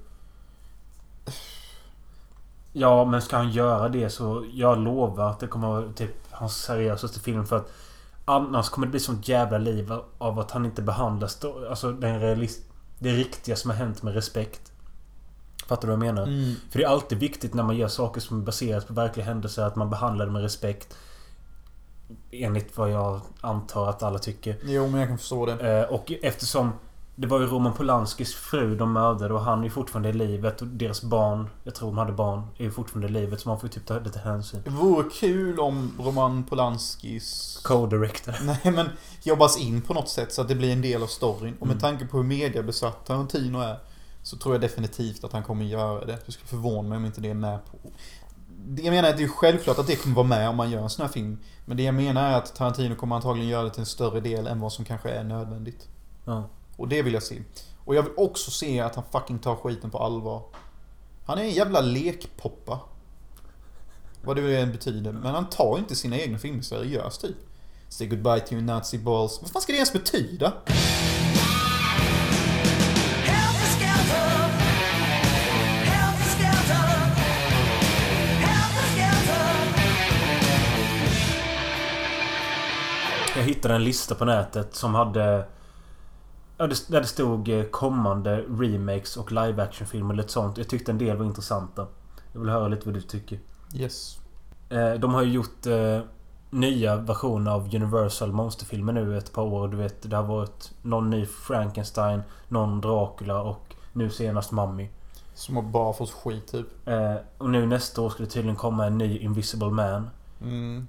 S2: Ja, men ska han göra det så jag lovar att det kommer vara typ hans seriösaste film för att annars kommer det bli sånt jävla liv av att han inte behandlas då, alltså den realist, det riktiga som har hänt med respekt. Fattar du vad jag menar?
S1: mm.
S2: För det är alltid viktigt när man gör saker som är baserat på verkliga händelser att man behandlar det med respekt. Enligt vad jag antar att alla tycker.
S1: Jo, men jag kan förstå det.
S2: Eh, Och eftersom det var ju Roman Polanskis fru de mördade och han är ju fortfarande i livet och deras barn, jag tror de hade barn, är ju fortfarande i livet så man får ju typ ta lite hänsyn.
S1: Det vore kul om Roman Polanskis...
S2: Co-director.
S1: Nej men jobbas in på något sätt så att det blir en del av storyn. Och med tanke på hur mediebesatt Tarantino är så tror jag definitivt att han kommer göra det. Det skulle förvåna mig om inte det är med på. Det jag menar är att det är självklart att det kommer vara med om man gör en sån här film. Men det jag menar är att Tarantino kommer antagligen göra det till en större del än vad som kanske är nödvändigt.
S2: Ja.
S1: Och det vill jag se. Och jag vill också se att han fucking tar skiten på allvar. Han är en jävla lekpoppa. Vad det än betyder. Men han tar ju inte sina egna filmer seriöst typ. Say goodbye to your Nazi balls. Vad fan ska det ens betyda?
S2: Jag hittade en lista på nätet som hade... Ja, det, där det stod eh, kommande remakes och live action-filmer och lite sånt. Jag tyckte en del var intressanta. Jag vill höra lite vad du tycker.
S1: Yes.
S2: Eh, De har ju gjort eh, nya versioner av Universal Monsterfilmer nu ett par år. Du vet, det har varit någon ny Frankenstein, någon Dracula och nu senast Mummy.
S1: Som att bara få skit typ.
S2: Eh, Och nu nästa år ska det tydligen komma en ny Invisible Man.
S1: Mm.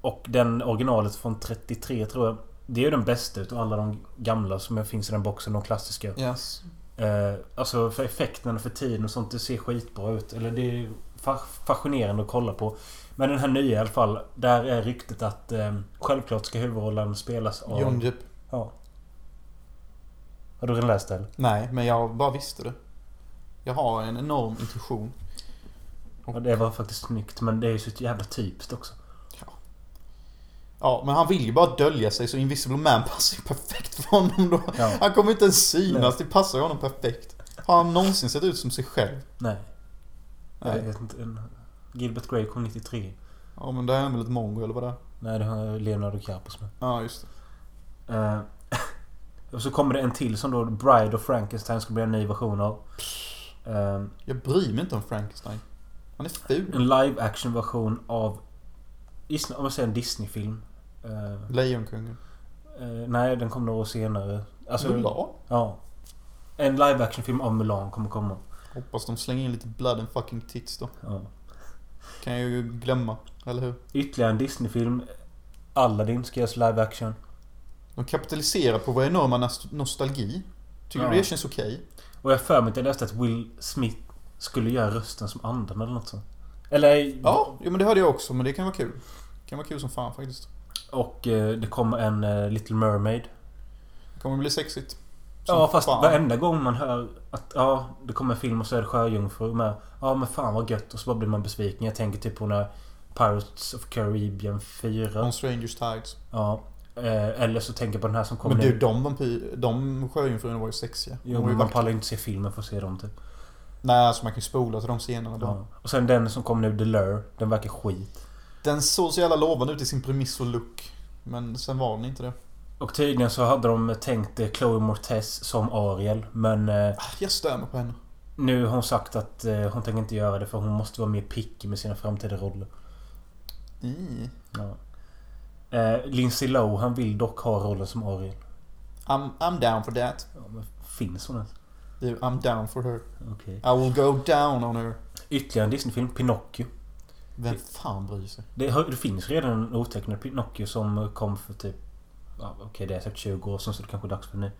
S2: Och den originalet från 33 tror jag. Det är ju den bästa utav alla de gamla som finns i den boxen, de klassiska.
S1: Yes.
S2: Eh, alltså för effekterna, för tiden och sånt. Det ser skitbra ut. Eller det är fa- fascinerande att kolla på. Men den här nya i alla fall. Där är ryktet att eh, självklart ska huvudrollen spelas av...
S1: John Depp.
S2: Ja. Har du redan läst det? eller?
S1: Nej, men jag bara visste det. Jag har en enorm intuition.
S2: Ja, det var faktiskt snyggt men det är ju så jävla typiskt också.
S1: Ja, men han vill ju bara dölja sig så Invisible Man passar ju perfekt för honom då.
S2: Ja.
S1: Han kommer inte ens
S2: Nej.
S1: synas. Det passar ju honom perfekt. Har han någonsin sett ut som sig själv?
S2: Nej.
S1: Nej.
S2: Jag vet inte. en- Gilbert Grape kom 93.
S1: Ja, men det är väl ett mongo eller vad det är?
S2: Nej, det har Leonardo Capos med.
S1: Ja, just det.
S2: Eh, och så kommer det en till som då Bride of Frankenstein ska bli en ny version av. Eh,
S1: Jag bryr mig inte om Frankenstein. Han är ful.
S2: en live action version av... gissna- Om jag säger en Disney-film. Eh,
S1: Lejonkungen.
S2: eh, nej, den kommer några år senare. Alltså,
S1: Mulan?
S2: Ja. En live action film av Mulan kommer komma.
S1: Hoppas de slänger in lite blood and fucking tits då.
S2: Ja.
S1: Kan jag ju glömma, eller hur?
S2: Ytterligare en Disney-film. Aladdin ska göras live action.
S1: De kapitaliserar på vår enorma nas- nostalgi. Tycker du
S2: Ja.
S1: det känns okej?
S2: Och jag har för mig att jag läste att Will Smith skulle göra rösten som anden eller något sånt. Eller...
S1: Ja, jo, men det hörde jag också, men det kan vara kul. Det kan vara kul som fan faktiskt.
S2: Och eh, det kommer en eh, Little Mermaid.
S1: Det kommer bli sexigt. Som
S2: Ja fast
S1: fan.
S2: varenda gång man hör att ja, det kommer en film och så är det sjöjungfru med. Ja men fan vad gött. Och så bara blir man besviken. Jag tänker typ på när Pirates of Caribbean 4.
S1: On Strangers Tides.
S2: Ja. Eh, eller så tänker jag på den här som kommer
S1: Men du,
S2: nu.
S1: de, vampyr, de sjöjungfrurna var ju sexiga. De
S2: Jo,
S1: var ju
S2: men man
S1: vackra.
S2: pallar ju inte se filmen för att se dem typ.
S1: Nej, alltså man kan ju spola till de scenerna bara.
S2: Ja. Och sen den som kom nu, The Lure. Den verkar skit.
S1: Den såg så jävla lovande ut i sin premiss och look. Men sen var den inte det.
S2: Och tydligen så hade de tänkt eh, Chloe Mortez som Ariel. Men eh,
S1: Ah, Jag stör mig på henne.
S2: nu har hon sagt att eh, hon tänker inte göra det för hon måste vara mer picky med sina framtida roller.
S1: I.
S2: Ja. Eh, Lindsay Lohan vill dock ha rollen som Ariel.
S1: I'm, I'm down for that.
S2: Ja, men finns hon ens?
S1: I'm down for her.
S2: Okej.
S1: I will go down on her.
S2: Ytterligare en Disney-film, Pinocchio.
S1: Vem fan bryr sig?
S2: Det, har- det finns redan en otecknad Pinocchio som kom för typ... Ja, Okej, det är säkert 20 år sedan så det kanske är dags för en ny.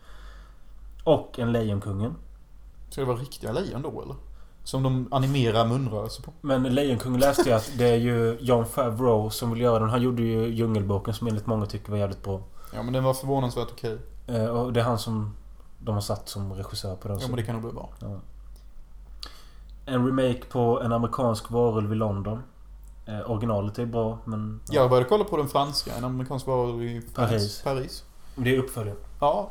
S2: Och en Lejonkungen.
S1: Ska det vara riktiga lejon då eller? Som de animerar munrörelser på?
S2: Men Lejonkungen läste jag att det är ju John Favreau som vill göra den. Han gjorde ju Djungelboken som enligt många tycker var jävligt bra.
S1: Ja men den var förvånansvärt okej.
S2: Eh, och det är han som de har satt som regissör på den.
S1: Ja
S2: så-
S1: men det kan nog bli bra.
S2: En remake på En Amerikansk varulv i London. Eh, originalet är bra men...
S1: Jag började kolla på den franska, en amerikansk varor i
S2: Paris.
S1: Paris. Paris.
S2: Det är uppföljaren.
S1: Ja,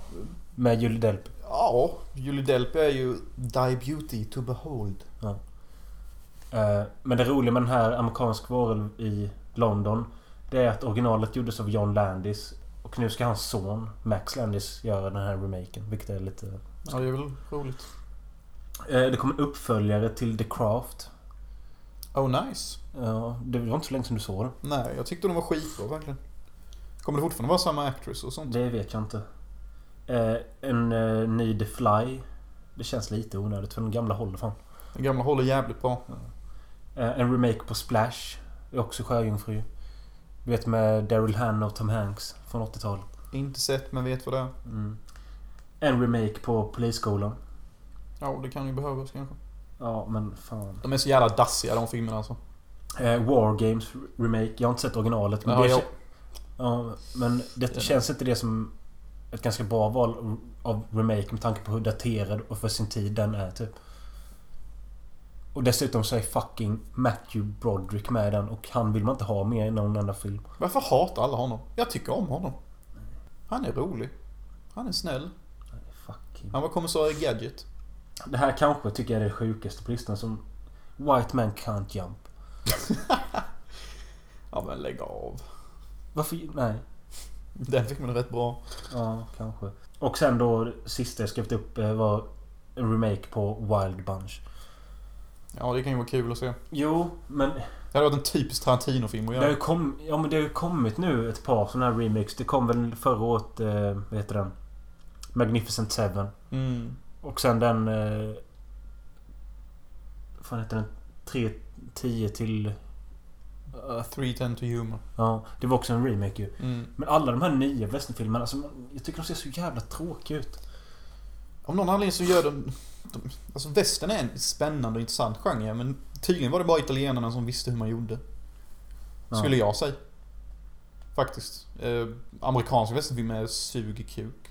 S2: Med Julie Delp.
S1: ja. Julie Delpy är ju Die Beauty to behold.
S2: Eh, men det roliga med den här Amerikansk varulv i London. Det är att originalet gjordes av John Landis. Och nu ska hans son Max Landis göra den här remaken. Vilket är lite...
S1: Ja det är väl roligt.
S2: Eh, det kommer en uppföljare till The Craft.
S1: Oh nice.
S2: Ja, det var inte så länge som du såg den.
S1: Nej, jag tyckte de var skitbra verkligen. Kommer det fortfarande vara samma actress och sånt?
S2: Det vet jag inte. Eh, en eh, ny The Fly. Det känns lite onödigt för den gamla håller fan.
S1: Den gamla håller jävligt bra.
S2: Eh, en remake på Splash. Det är också Sjöjungfru. Du vet med Daryl Hannah och Tom Hanks från 80-talet.
S1: Inte sett men vet vad det är.
S2: Mm. En remake på Polisskolan.
S1: Ja, det kan ju behövas kanske.
S2: Ja, men fan.
S1: De är så jävla dassiga de filmerna alltså.
S2: Eh, War Games remake. Jag har inte sett originalet. Men,
S1: Ja,
S2: det,
S1: jag-
S2: ja, men det känns inte det som ett ganska bra val av remake med tanke på hur daterad och för sin tid den är typ. Och dessutom så är fucking Matthew Broderick med i den och han vill man inte ha med i någon enda film.
S1: Varför hatar alla honom? Jag tycker om honom. Han är rolig. Han är snäll.
S2: Fucking.
S1: Han var kommissarie Gadget.
S2: Det här kanske tycker jag är det sjukaste på listan som White Man Can't Jump.
S1: Ja men lägg av.
S2: Varför? Nej.
S1: Den fick man rätt bra.
S2: Ja, kanske. Och sen då sista jag skrev upp eh, var en remake på Wild Bunch.
S1: Ja det kan ju vara kul att se.
S2: Jo, men
S1: Det hade varit en typisk Tarantino-film att
S2: Det har ju
S1: göra.
S2: kom, ja, men det har ju kommit nu ett par sådana här remakes. Det kom väl förra året, eh, vad heter den? Magnificent Seven.
S1: Mm.
S2: Och sen den... Eh, vad fan heter den? 310 till...
S1: Uh, 310 to humor.
S2: Ja, det var också en remake ju.
S1: Mm.
S2: Men alla de här nya westernfilmerna, alltså, man- jag tycker de ser så jävla tråkiga ut.
S1: Om någon anledning så gör de... de alltså västern är en spännande och intressant genre men tydligen var det bara italienarna som visste hur man gjorde.
S2: Ja.
S1: Skulle jag säga. Faktiskt. Eh, amerikanska västernfilmer suger kuk.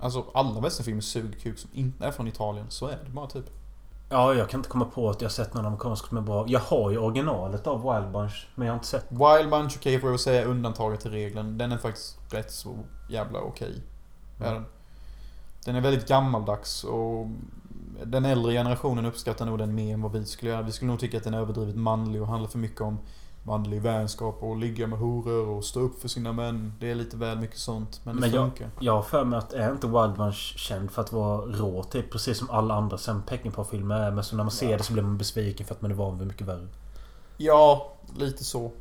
S1: Alltså alla västernfilmer suger kuk som inte är från Italien. Så är det bara typ.
S2: Ja, jag kan inte komma på att jag har sett någon amerikansk som är bra. Jag har ju originalet av Wild Bunch, men jag har inte sett...
S1: Wild Bunch, okej får jag väl säga, undantaget till regeln. Den är faktiskt rätt så jävla okej. Är den. Den är väldigt gammaldags och den äldre generationen uppskattar nog den mer än vad vi skulle göra. Vi skulle nog tycka att den är överdrivet manlig och handlar för mycket om manlig vänskap och ligga med horor och stå upp för sina män. Det är lite väl mycket sånt. Men det
S2: Men jag-
S1: funkar.
S2: Jag har för mig att är inte Wild Bunch känd för att vara rå typ? Precis som alla andra Sam Peckinpah-filmer är. Men så när man ser det så blir man besviken för att man är van vid mycket värre.
S1: Ja, lite så.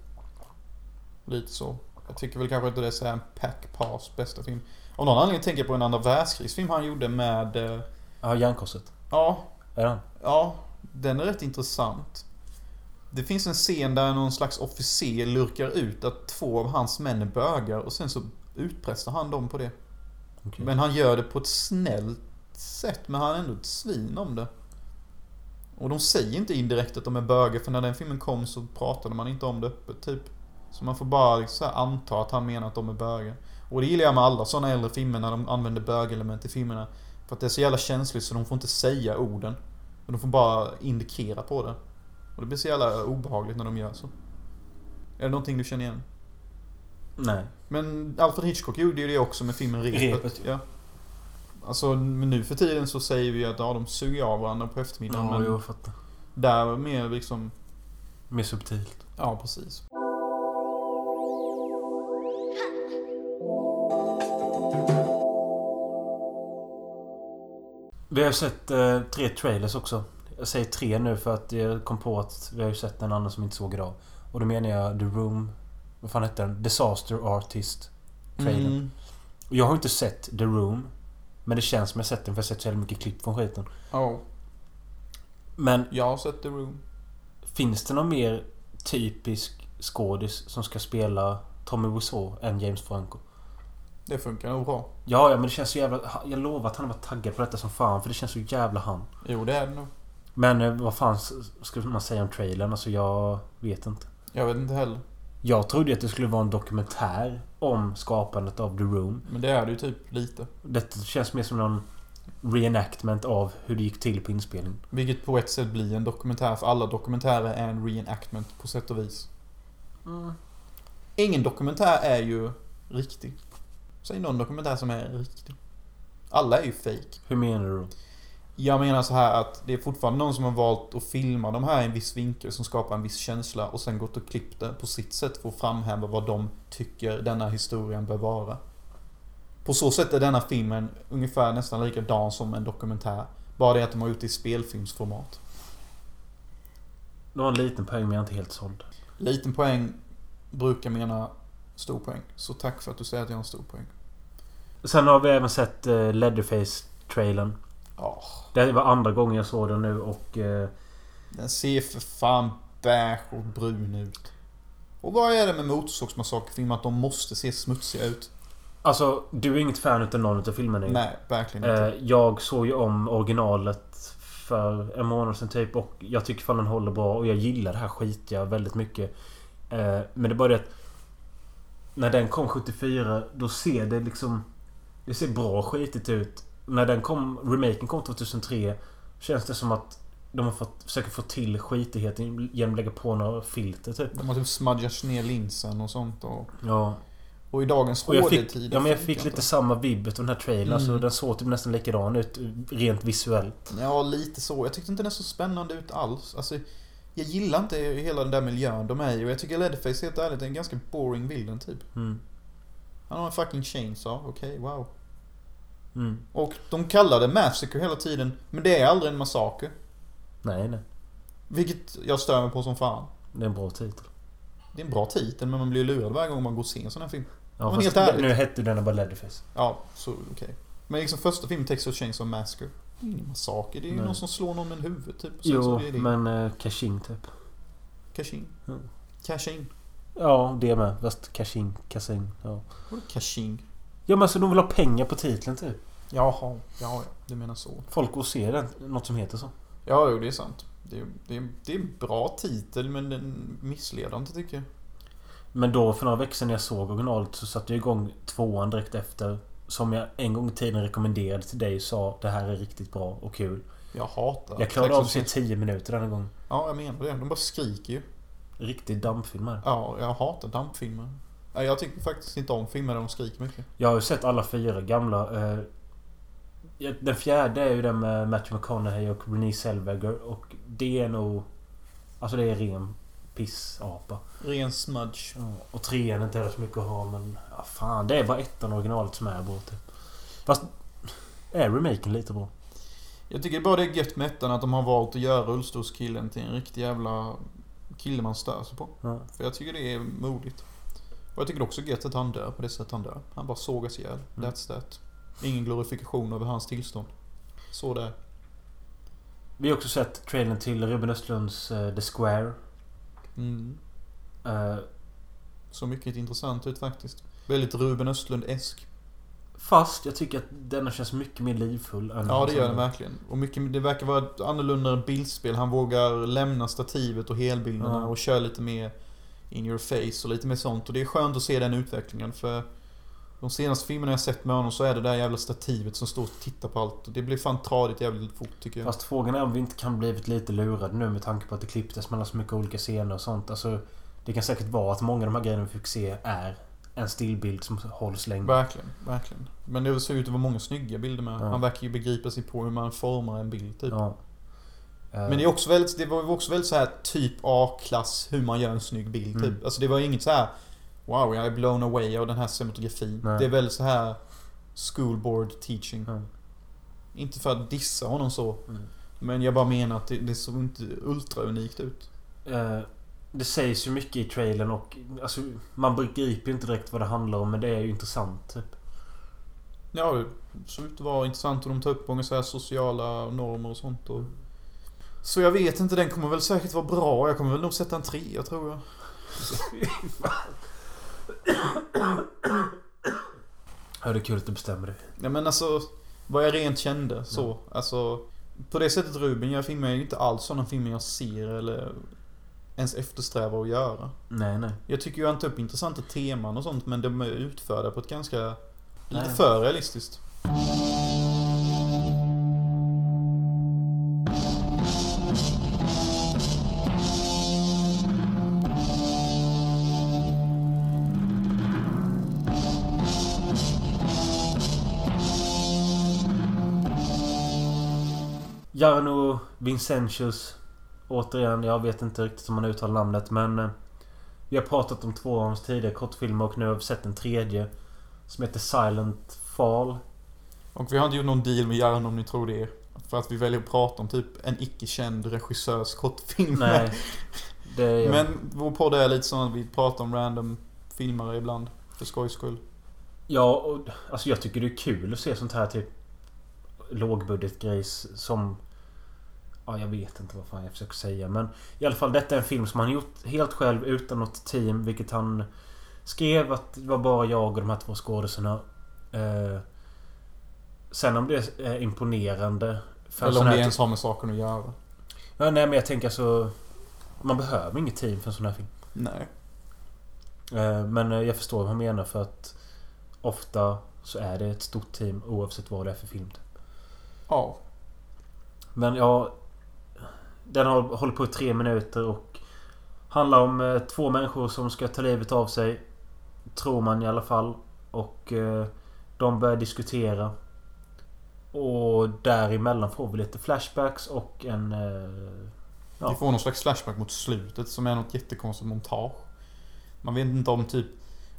S1: Lite så. Jag tycker väl kanske inte det är Sam Peckinpahs bästa film. Av någon anledning tänker jag på en andra världskrigsfilm han gjorde med... eh,
S2: Ja, Järnkorset.
S1: Ja,
S2: Är den?
S1: Ja, den är rätt intressant. Det finns en scen där någon slags officer lurkar ut att två av hans män är bögar och sen så utpressar han dem på det.
S2: Okej.
S1: Men han gör det på ett snällt sätt, men han är ändå ett svin om det. Och de säger inte indirekt att de är bögar, för när den filmen kom så pratade man inte om det öppet, typ. Så man får bara liksom så här anta att han menar att de är bögar. Och det gillar jag med alla sådana äldre filmer, när de använder bögelement i filmerna. För att det är så jävla känsligt så de får inte säga orden. Men de får bara indikera på det. Och det blir så jävla obehagligt när de gör så. Är det någonting du känner igen?
S2: Nej.
S1: Men Alfred Hitchcock gjorde ju det också med filmen Repet.
S4: Repet,
S1: ja. Alltså, men nu för tiden så säger vi att ja, de suger av varandra på eftermiddagen.
S2: Ja,
S1: men
S2: jag fattar.
S1: där var mer liksom...
S2: Mer subtilt.
S1: Ja, precis.
S2: Vi har ju sett eh, tre trailers också. Jag säger tre nu för att jag kom på att vi har ju sett en annan som vi inte såg idag. Och då menar jag The Room. Vad fan hette den? Disaster Artist. Trailern.
S1: Mm.
S2: Och jag har inte sett The Room. Men det känns som jag sett den för jag har sett så jävla mycket klipp från skiten.
S1: Ja,
S2: Men
S1: jag har sett The Room.
S2: finns det någon mer typisk skådis som ska spela Tommy Wiseau än James Franco?
S1: Det funkar nog bra.
S2: Ja, ja, men det känns så jävla... Jag lovar att han har varit taggad på detta som fan för det känns så jävla han.
S1: Jo, det är det nog.
S2: Men eh, vad fan s- ska man säga om trailern? Alltså jag vet inte.
S1: Jag vet inte heller.
S2: Jag trodde att det skulle vara en dokumentär om skapandet av The Room.
S1: Men det är det ju typ lite.
S2: Detta känns mer som någon reenactment av hur det gick till på inspelning.
S1: Vilket på ett sätt blir en dokumentär, för alla dokumentärer är en reenactment på sätt och vis. Ingen dokumentär är ju riktig. Säg någon dokumentär som är riktig. Alla är ju fake.
S2: Hur menar du?
S1: Jag menar så här att det är fortfarande någon som har valt att filma de här i en viss vinkel som skapar en viss känsla och sen gått och klippt det på sitt sätt för att framhäva vad de tycker denna historien bör vara. På så sätt är denna filmen ungefär nästan likadan som en dokumentär. Bara det att de har gjort det i spelfilmsformat.
S2: Du har en liten poäng men jag är inte helt såld.
S1: Liten poäng brukar mena stor poäng. Så tack för att du säger att jag har en stor poäng.
S2: Sen har vi även sett eh, Leatherface-trailern.
S1: Ja,
S2: Det var andra gången jag såg den nu och... Eh,
S1: den ser för fan beige och brun ut. Och vad är det med Motorsågsmassakerfilmer att de måste se smutsiga ut?
S2: alltså, du är inget fan utav någon utav filmerna ju.
S1: Nej, verkligen inte.
S2: Mm. Eh, jag såg ju om originalet för en månad sedan typ och jag tycker fan den håller bra och jag gillar det här skitiga väldigt mycket. Eh, men det är bara det att... När den kom 74 då ser det liksom... Det ser bra skitigt ut. När den kom, remaken kom 2003 Känns det som att de har fått, försöker få till skitigheten genom att lägga på några filter typ.
S1: De har typ smudgat ner linsen och sånt och...
S2: Ja.
S1: Och i dagens
S2: Och jag
S1: HD-tid...
S2: fick, ja, men jag fick lite samma vibb utav den här trailern.
S1: Mm.
S2: Så den såg typ nästan likadan ut rent visuellt.
S1: Ja, lite så. Jag tyckte inte den såg spännande ut alls. Alltså, jag gillar inte hela den där miljön de är i och jag tycker Leatherface helt ärligt är en ganska boring villain typ.
S2: Mm.
S1: Han har en fucking chainsaw, okej, wow.
S2: Mm.
S1: Och de kallar det massacre hela tiden, men det är aldrig en massaker.
S2: Nej, nej.
S1: Vilket jag stör mig på som fan.
S2: Det är en bra titel.
S1: Det är en bra titel, men man blir lurad varje gång man går och ser en sån här film.
S2: Ja,
S1: Men
S2: fast
S1: helt ärligt.
S2: nu hette den bara Leatherface.
S1: Ja, så okej. Men liksom första filmen, Texas Chainsaw Massacre. Det är ingen massaker, det är ju
S2: Nej.
S1: någon som slår någon med en huvud typ. och sen så
S2: Jo,
S1: blir det
S2: men eh, Kashing typ.
S1: Cashin.
S2: Ja.
S1: Cashin.
S2: Ja, det med. Fast Kashing, Kashing. Ja.
S1: Vadå Cashin?
S2: ja, men alltså de vill ha pengar på titeln typ.
S1: Jaha, ja, ja, du menar så.
S2: Folk går och ser den. Något som heter så.
S1: Ja, jo, det är sant. Det är, det, är, det är en bra titel, men den missledande tycker jag.
S2: Men då för några veckor sedan när jag såg originalet så satte jag igång tvåan direkt efter. Som jag en gång i tiden rekommenderade till dig och sa det här är riktigt bra och kul.
S1: Jag hatar
S2: Jag klarade av att se
S1: Sex and the
S2: 10 minuter denna gång.
S1: City. Ja, jag menar det. De bara skriker ju.
S2: Riktig dammfilm här.
S1: Ja, jag hatar dampfilmer. Nej, Jag tycker faktiskt inte om filmer där de skriker mycket.
S2: Jag har ju sett alla fyra gamla. eh, ja, Den fjärde är ju den med Matthew McConaughey och Renée Zellweger. Och det är nog... Alltså det är ren pissapa.
S1: Ren smudge.
S2: Ja, Och trean är inte heller så mycket att ha men... Ja, fan, det är bara ettan och originalet som är bra typ. Fast... Är remaken lite bra?
S1: Jag tycker bara det är gött med ettan att de har valt att göra rullstolskillen till en riktig jävla kille man stör sig på.
S2: Ja.
S1: För jag tycker det är modigt. Och jag tycker också gött att han dör på det sätt han dör. Han bara sågas ihjäl.
S2: Mm.
S1: That's that. Ingen glorifikation över hans tillstånd. Så det. är.
S2: Vi har också sett trailern till Ruben Östlunds eh, The Square.
S1: Mm.
S2: Eh,
S1: Så mycket intressant ut faktiskt. Väldigt Ruben Östlund-esk.
S2: Fast jag tycker att denna känns mycket mer livfull än
S1: Ja, det gör den verkligen. Och mycket, det verkar vara annorlunda än bildspel. Han vågar lämna stativet och helbilderna
S2: Ja.
S1: och köra lite mer in your face och lite mer sånt. Och det är skönt att se den utvecklingen för de senaste filmerna jag sett med honom så är det där jävla stativet som står och tittar på allt. Och det blir fan tradigt jävligt fort tycker jag.
S2: Fast frågan är om vi inte kan blivit lite lurade nu med tanke på att det klipptes mellan så mycket olika scener och sånt. Alltså, det kan säkert vara att många av de här grejerna vi fick se är en stillbild som hålls länge.
S1: Verkligen, verkligen. Men det såg ut att vara många snygga bilder med.
S2: Ja.
S1: Han verkar ju begripa sig på hur man formar en bild typ.
S2: Ja. Eh,
S1: Men det, är också väldigt, det var ju också väldigt så här typ A-klass hur man gör en snygg bild.
S2: Mm.
S1: Typ. Alltså det var ju inget så här Wow, jag är blown away av den här cinematografin.
S2: Nej.
S1: Det är väldigt så här school board teaching.
S2: Ja.
S1: Inte för att dissa honom så.
S2: Mm.
S1: Men jag bara menar att det, det såg inte ultra unikt ut.
S2: Eh, det sägs ju mycket i trailern och alltså, man begriper ju inte direkt vad det handlar om men det är ju intressant. Typ.
S1: Ja, det såg ut att vara intressant och de tar upp många så här sociala normer och sånt.
S2: Mm.
S1: Och... Så jag vet inte, den kommer väl säkert vara bra. Jag kommer väl nog sätta en trea tror jag.
S2: Ja, det är kul att du bestämmer det.
S1: Ja men alltså Vad jag rent kände så Alltså På det sättet Ruben gör filmer är ju inte alls sådana filmer jag ser eller Ens eftersträvar att göra
S2: Nej, nej.
S1: Jag tycker ju han tar upp intressanta teman och sånt men de är utförda på ett ganska Lite
S2: Nej.
S1: för realistiskt
S2: Jarno Vincentius. Återigen, jag vet inte riktigt om man uttalar namnet men... eh, Vi har pratat om två av hans tidigare kortfilmer och nu har vi sett en tredje. Som heter Silent Fall.
S1: Och vi har inte gjort någon deal med Göran om ni tror det För att vi väljer att prata om typ en icke-känd regissörs kortfilm
S2: Nej. Det är...
S1: Men vår podd är lite sån att vi pratar om random filmare ibland För skojs skull
S2: Ja, och, alltså jag tycker det är kul att se sånt här typ... Lågbudgetgrejs som... Ja, jag vet inte vad fan jag försöker säga men... I alla fall, detta är en film som han gjort helt själv utan något team vilket han... Skrev att det var bara jag och de här två skådisarna. Eh, sen om det är imponerande... För en
S1: Eller
S2: sån
S1: om det
S2: här typ-
S1: ens har med saken att göra
S2: Ja, nej men jag tänker så... Man behöver inget team för en sån här film.
S1: Nej
S2: Eh, Men eh, jag förstår vad han menar för att... Ofta så är det ett stort team oavsett vad det är för film.
S1: Ja
S2: Men ja... Den har, håller på i tre minuter och... Handlar om eh, två människor som ska ta livet av sig. Tror man i alla fall. Och eh, de börjar diskutera. Och däremellan får vi lite flashbacks och en... Eh, Ja.
S1: Vi får någon slags flashback mot slutet som är något jättekonstigt montage. Man vet inte om typ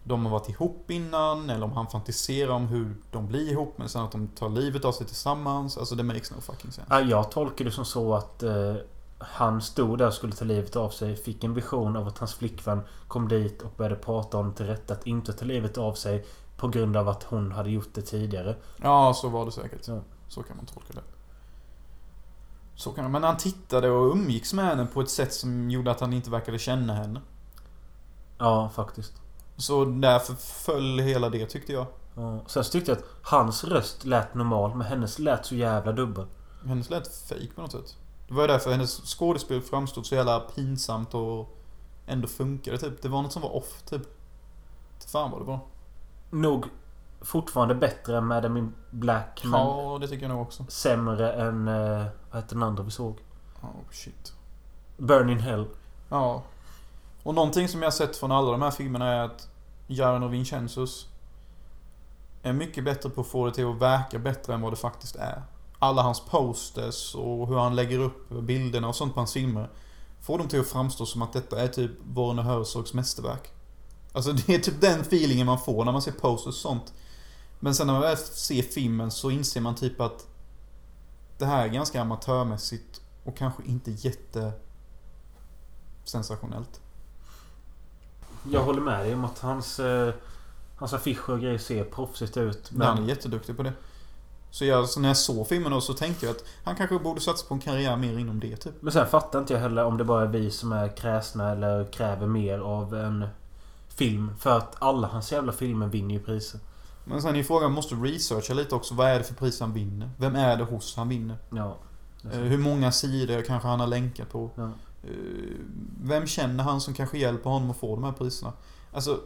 S1: de har varit ihop innan eller om han fantiserar om hur de blir ihop men sen att de tar livet av sig tillsammans. Alltså det makes no fucking sense.
S2: Ja, jag tolkar det som så att eh, han stod där och skulle ta livet av sig. Fick en vision av att hans flickvän kom dit och började prata om till rätt att inte ta livet av sig. På grund av att hon hade gjort det tidigare.
S1: Ja, så var det säkert.
S2: Ja.
S1: Så kan man tolka det. Så kan man, men han tittade och umgicks med henne på ett sätt som gjorde att han inte verkade känna henne.
S2: Ja, faktiskt.
S1: Så därför föll hela det tyckte jag.
S2: Ja. Sen så tyckte jag att hans röst lät normal men hennes lät så jävla dubbel.
S1: Hennes lät fake på något sätt. Det var ju därför hennes skådespel framstod så jävla pinsamt och ändå funkade typ. Det var något som var off typ. Inte Fan vad det var.
S2: Nog fortfarande bättre än Madam in Black. Men
S1: Ja, det tycker jag nog också.
S2: sämre än... eh, Vad hette den andra vi såg?
S1: Oh, shit.
S2: Burn in Hell.
S1: Ja. Och någonting som jag har sett från alla de här filmerna är att Jarno Vincenzus är mycket bättre på att få det till att verka bättre än vad det faktiskt är. Alla hans posters och hur han lägger upp bilderna och sånt på hans filmer får dem till att framstå som att detta är typ Warner Herzogs mästerverk. Alltså det är typ den feelingen man får när man ser posters och sånt. Men sen när man väl ser filmen så inser man typ att det här är ganska amatörmässigt och kanske inte jätte sensationellt.
S2: Jag håller med dig om att hans... eh, Hans affischer och grejer ser proffsigt ut.
S1: Men han är
S2: Men
S1: jätteduktig på det. Så, jag, så när jag såg filmen då så tänkte jag att han kanske borde satsa på en karriär mer inom det typ.
S2: Men sen fattar inte jag heller om det bara är vi som är kräsna eller kräver mer av en film. För att alla hans jävla filmer vinner ju priser.
S1: Men sen är ju frågan, måste researcha lite också. Vad är det för pris han vinner? Vem är det hos han vinner?
S2: Ja. det
S1: Eh,
S2: är sant.
S1: Hur många sidor kanske han har länkat på?
S2: Ja.
S1: Eh, Vem känner han som kanske hjälper honom att få de här priserna? Alltså,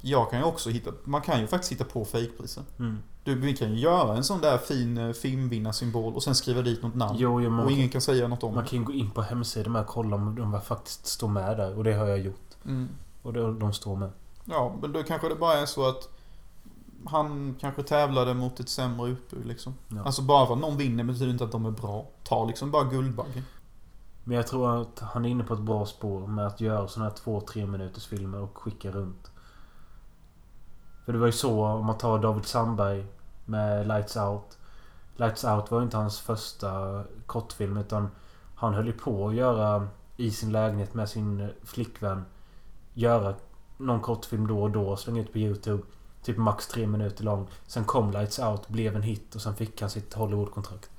S1: jag kan ju också hitta... Man kan ju faktiskt hitta på fejkpriser.
S2: Mm.
S1: Du, Vi kan ju göra en sån där fin eh, filmvinnarsymbol och sen skriva dit något namn.
S2: Jo, jo,
S1: och
S2: man,
S1: ingen kan säga något om
S2: man
S1: det.
S2: kan ju gå in på hemsidan med och kolla om de faktiskt står med där. Och det har jag gjort.
S1: Mm.
S2: Och de, de står med.
S1: Ja, men då kanske det bara är så att han kanske tävlade mot ett sämre utbud liksom.
S2: Ja.
S1: Alltså bara för att någon vinner betyder inte att de är bra. Ta liksom bara Guldbaggen.
S2: Men jag tror att han är inne på ett bra spår med att göra såna här två, tre minuters filmer och skicka runt. För det var ju så om man tar David Sandberg med Lights Out. Lights Out var ju inte hans första kortfilm utan han höll ju på att göra i sin lägenhet med sin flickvän. Göra någon kortfilm då och då, slänga ut på YouTube. Typ max tre minuter lång. Sen kom Lights Out, blev en hit och sen fick han sitt Hollywoodkontrakt.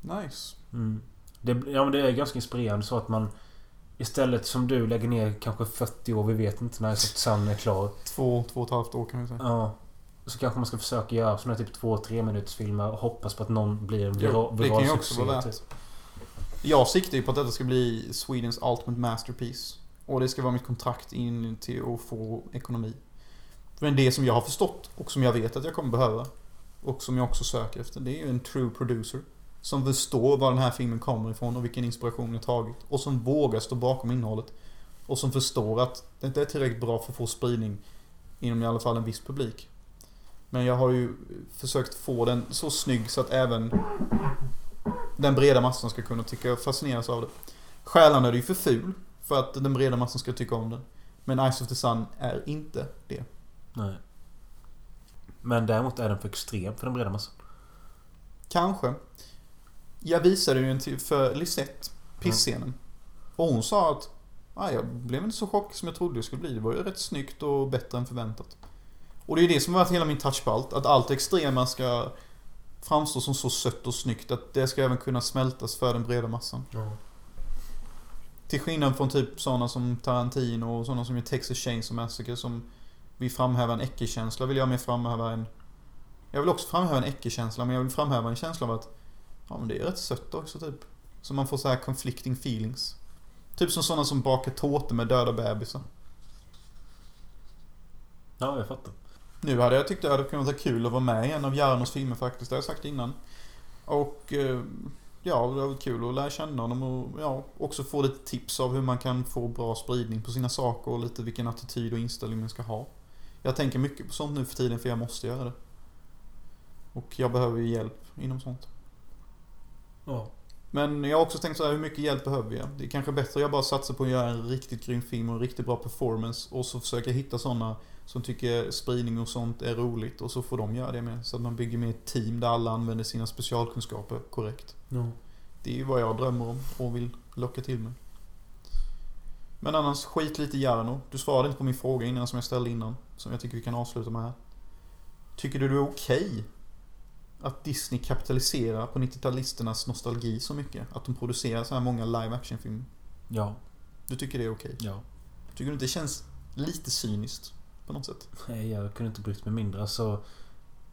S1: Nice.
S2: Mm. Det, ja, men det är ganska inspirerande så att man istället som du lägger ner kanske 40 år, vi vet inte när Sun är klar.
S1: Två, två och ett halvt år kan vi säga.
S2: Ja. Så kanske man ska försöka göra såna här typ 2-3 minuters filmer och hoppas på att någon blir en vira-
S1: Jo, det kan ju också
S2: succé,
S1: vara värt.
S2: typ.
S1: Jag siktar ju på att detta ska bli Swedens ultimate masterpiece. Och det ska vara mitt kontrakt in till att få ekonomi. Men det som jag har förstått och som jag vet att jag kommer behöva. Och som jag också söker efter. Det är ju en true producer. Som förstår var den här filmen kommer ifrån och vilken inspiration den har tagit. Och som vågar stå bakom innehållet. Och som förstår att det inte är tillräckligt bra för att få spridning inom i alla fall en viss publik. Men jag har ju försökt få den så snygg så att även den breda massan ska kunna tycka fascineras av det. Själarna är ju för ful för att den breda massan ska tycka om den. Men Ice of the Sun är inte det.
S2: Nej. Men däremot är den för extrem för den breda massan.
S1: Kanske. Jag visade ju en till för Lisette, pissscenen. Och hon sa att "Ah, jag blev inte så chockad som jag trodde det skulle bli. Det var ju rätt snyggt och bättre än förväntat. Och det är det som har varit hela min touch på allt. Att allt extrema ska framstå som så sött och snyggt att det ska även kunna smältas för den breda massan. Till skillnad från typ sådana som Tarantino och sådana som i Texas Chainsaw Massacre som vill framhäva en äckelkänsla vill jag mer framhäva en... Jag vill också framhäva en äckelkänsla men jag vill framhäva en känsla av att ja men det är rätt sött också typ. Så man får så här conflicting feelings. Typ som sådana som bakar tårtor med döda bebisar.
S2: Ja, jag fattar.
S1: Nu hade jag tyckt det hade kunnat vara kul att vara med i en av Jarnos filmer faktiskt, det har jag sagt innan. Och eh, ja, det har varit kul att lära känna honom och ja, också få lite tips av hur man kan få bra spridning på sina saker och lite vilken attityd och inställning man ska ha. Jag tänker mycket på sånt nu för tiden för jag måste göra det. Och jag behöver ju hjälp inom sånt.
S2: Ja.
S1: Men jag har också tänkt så här, hur mycket hjälp behöver jag? Det är kanske bättre att jag bara satsar på att göra en riktigt grym film och en riktigt bra performance och så försöka hitta sådana som tycker spridning och sånt är roligt och så får de göra det med. Så att man bygger med ett team där alla använder sina specialkunskaper korrekt.
S2: Ja.
S1: Det är ju vad jag drömmer om och vill locka till mig. Men annars, skit lite i Jarno. Du svarade inte på min fråga innan som jag ställde innan. Som jag tycker vi kan avsluta med här. Tycker du det är okej att Disney kapitaliserar på 90-talisternas nostalgi så mycket? Att de producerar så här många live action-filmer?
S2: Ja.
S1: Du tycker det är okej?
S2: ja.
S1: Tycker du inte det känns lite cyniskt? På något sätt?
S2: Nej, Eh, jag kunde inte brytt mig mindre. Alltså,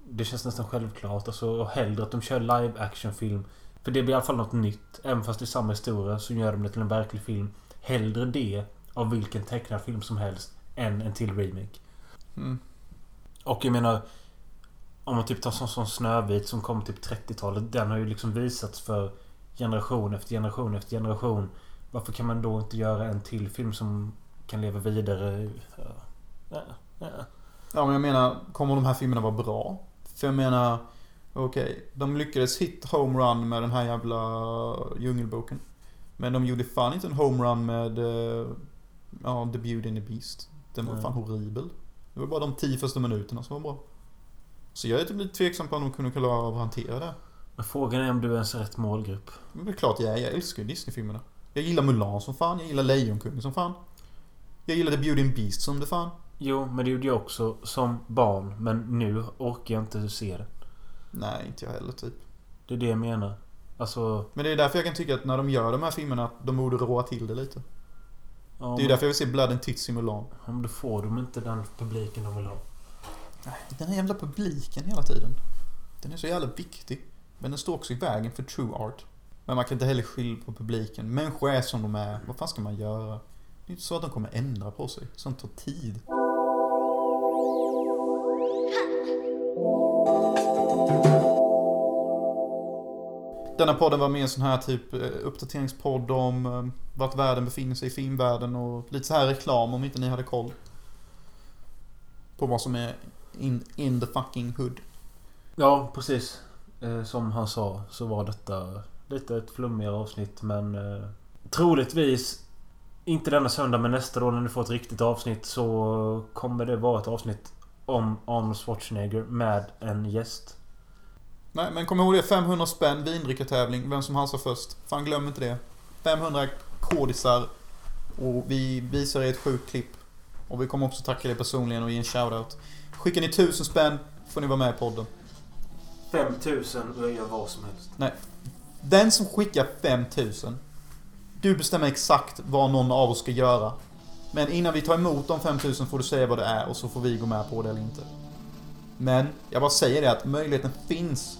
S2: det känns nästan självklart. Alltså, och hellre att de kör live actionfilm. För det blir i alla fall något nytt. Även fast det är samma historia så gör de det till en verklig film. Hellre det av vilken tecknad film som helst än en till remake.
S1: Mm.
S2: Och jag menar... Om man typ tar sån som Snövit som kom typ 30-talet. Den har ju liksom visats för generation efter generation efter generation. Varför kan man då inte göra en till film som kan leva vidare? Ja, ja, ja.
S1: Ja men jag menar, kommer de här filmerna vara bra? För jag menar, okej, de lyckades hit homerun med den här jävla eh, djungelboken. Men de gjorde fan inte en homerun med eh, ja, The Beauty and the Beast. Den var
S2: Nej.
S1: fan horribel. Det var bara de tio första minuterna som var bra. Så jag är typ lite tveksam på om de kunde klara av att hantera det.
S2: Men frågan är om du är ens är rätt målgrupp.
S1: Men det är klart jag är, jag älskar ju Disney-filmerna. Jag gillar Mulan som fan, jag gillar Lejonkungen som fan. Jag gillar The Beauty and the Beast som det fan.
S2: Jo, men det gjorde jag också som barn. Men nu orkar jag inte se det.
S1: Nej, inte jag heller typ.
S2: Det är det jag menar. Alltså...
S1: Men det är därför jag kan tycka att när de gör de här filmerna att de borde råa till det lite.
S2: Ja,
S1: Det är ju därför jag vill se Blood and Tits i Mulan.
S2: Ja, men då får de inte den publiken de vill ha.
S1: Den här jävla publiken hela tiden. Den är så jävla viktig. Men den står också i vägen för true art. Men man kan inte heller skylla på publiken. Människor är som de är. Vad fan ska man göra? Det är inte så att de kommer ändra på sig. Sånt tar tid. Denna podden var mer en sån här typ eh, uppdateringspodd om eh, vart världen befinner sig i filmvärlden och lite så här reklam om inte ni hade koll. På vad som är in, in the fucking hood.
S2: Ja, precis. Eh, som han sa så var detta lite ett flummigare avsnitt men eh, troligtvis inte denna söndag men nästa då när du får ett riktigt avsnitt så kommer det vara ett avsnitt om Arnold Schwarzenegger med en gäst.
S1: Nej, men kom ihåg det. 500 spänn vindrickartävling. Vem som halsar först. Fan, glöm inte det. 500 kodisar. Och vi visar er ett sjukt klipp. Och vi kommer också tacka er personligen och ge en shoutout. Skickar ni 1000 spänn får ni vara med i podden.
S2: 5000 och jag gör vad som helst.
S1: Den som skickar 5000. Du bestämmer exakt vad någon av oss ska göra. Men innan vi tar emot de 5000 får du säga vad det är och så får vi gå med på det eller inte. Men jag bara säger det att möjligheten finns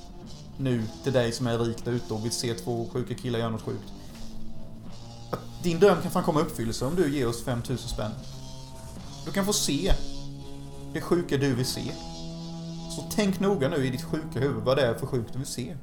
S1: nu till dig som är rik där ute och vill se två sjuka killar göra något sjukt. Att din dröm kan fan komma i uppfyllelse om du ger oss 5000 spänn. Du kan få se det sjuka du vill se. Så tänk noga nu i ditt sjuka huvud vad det är för sjukt du vill se.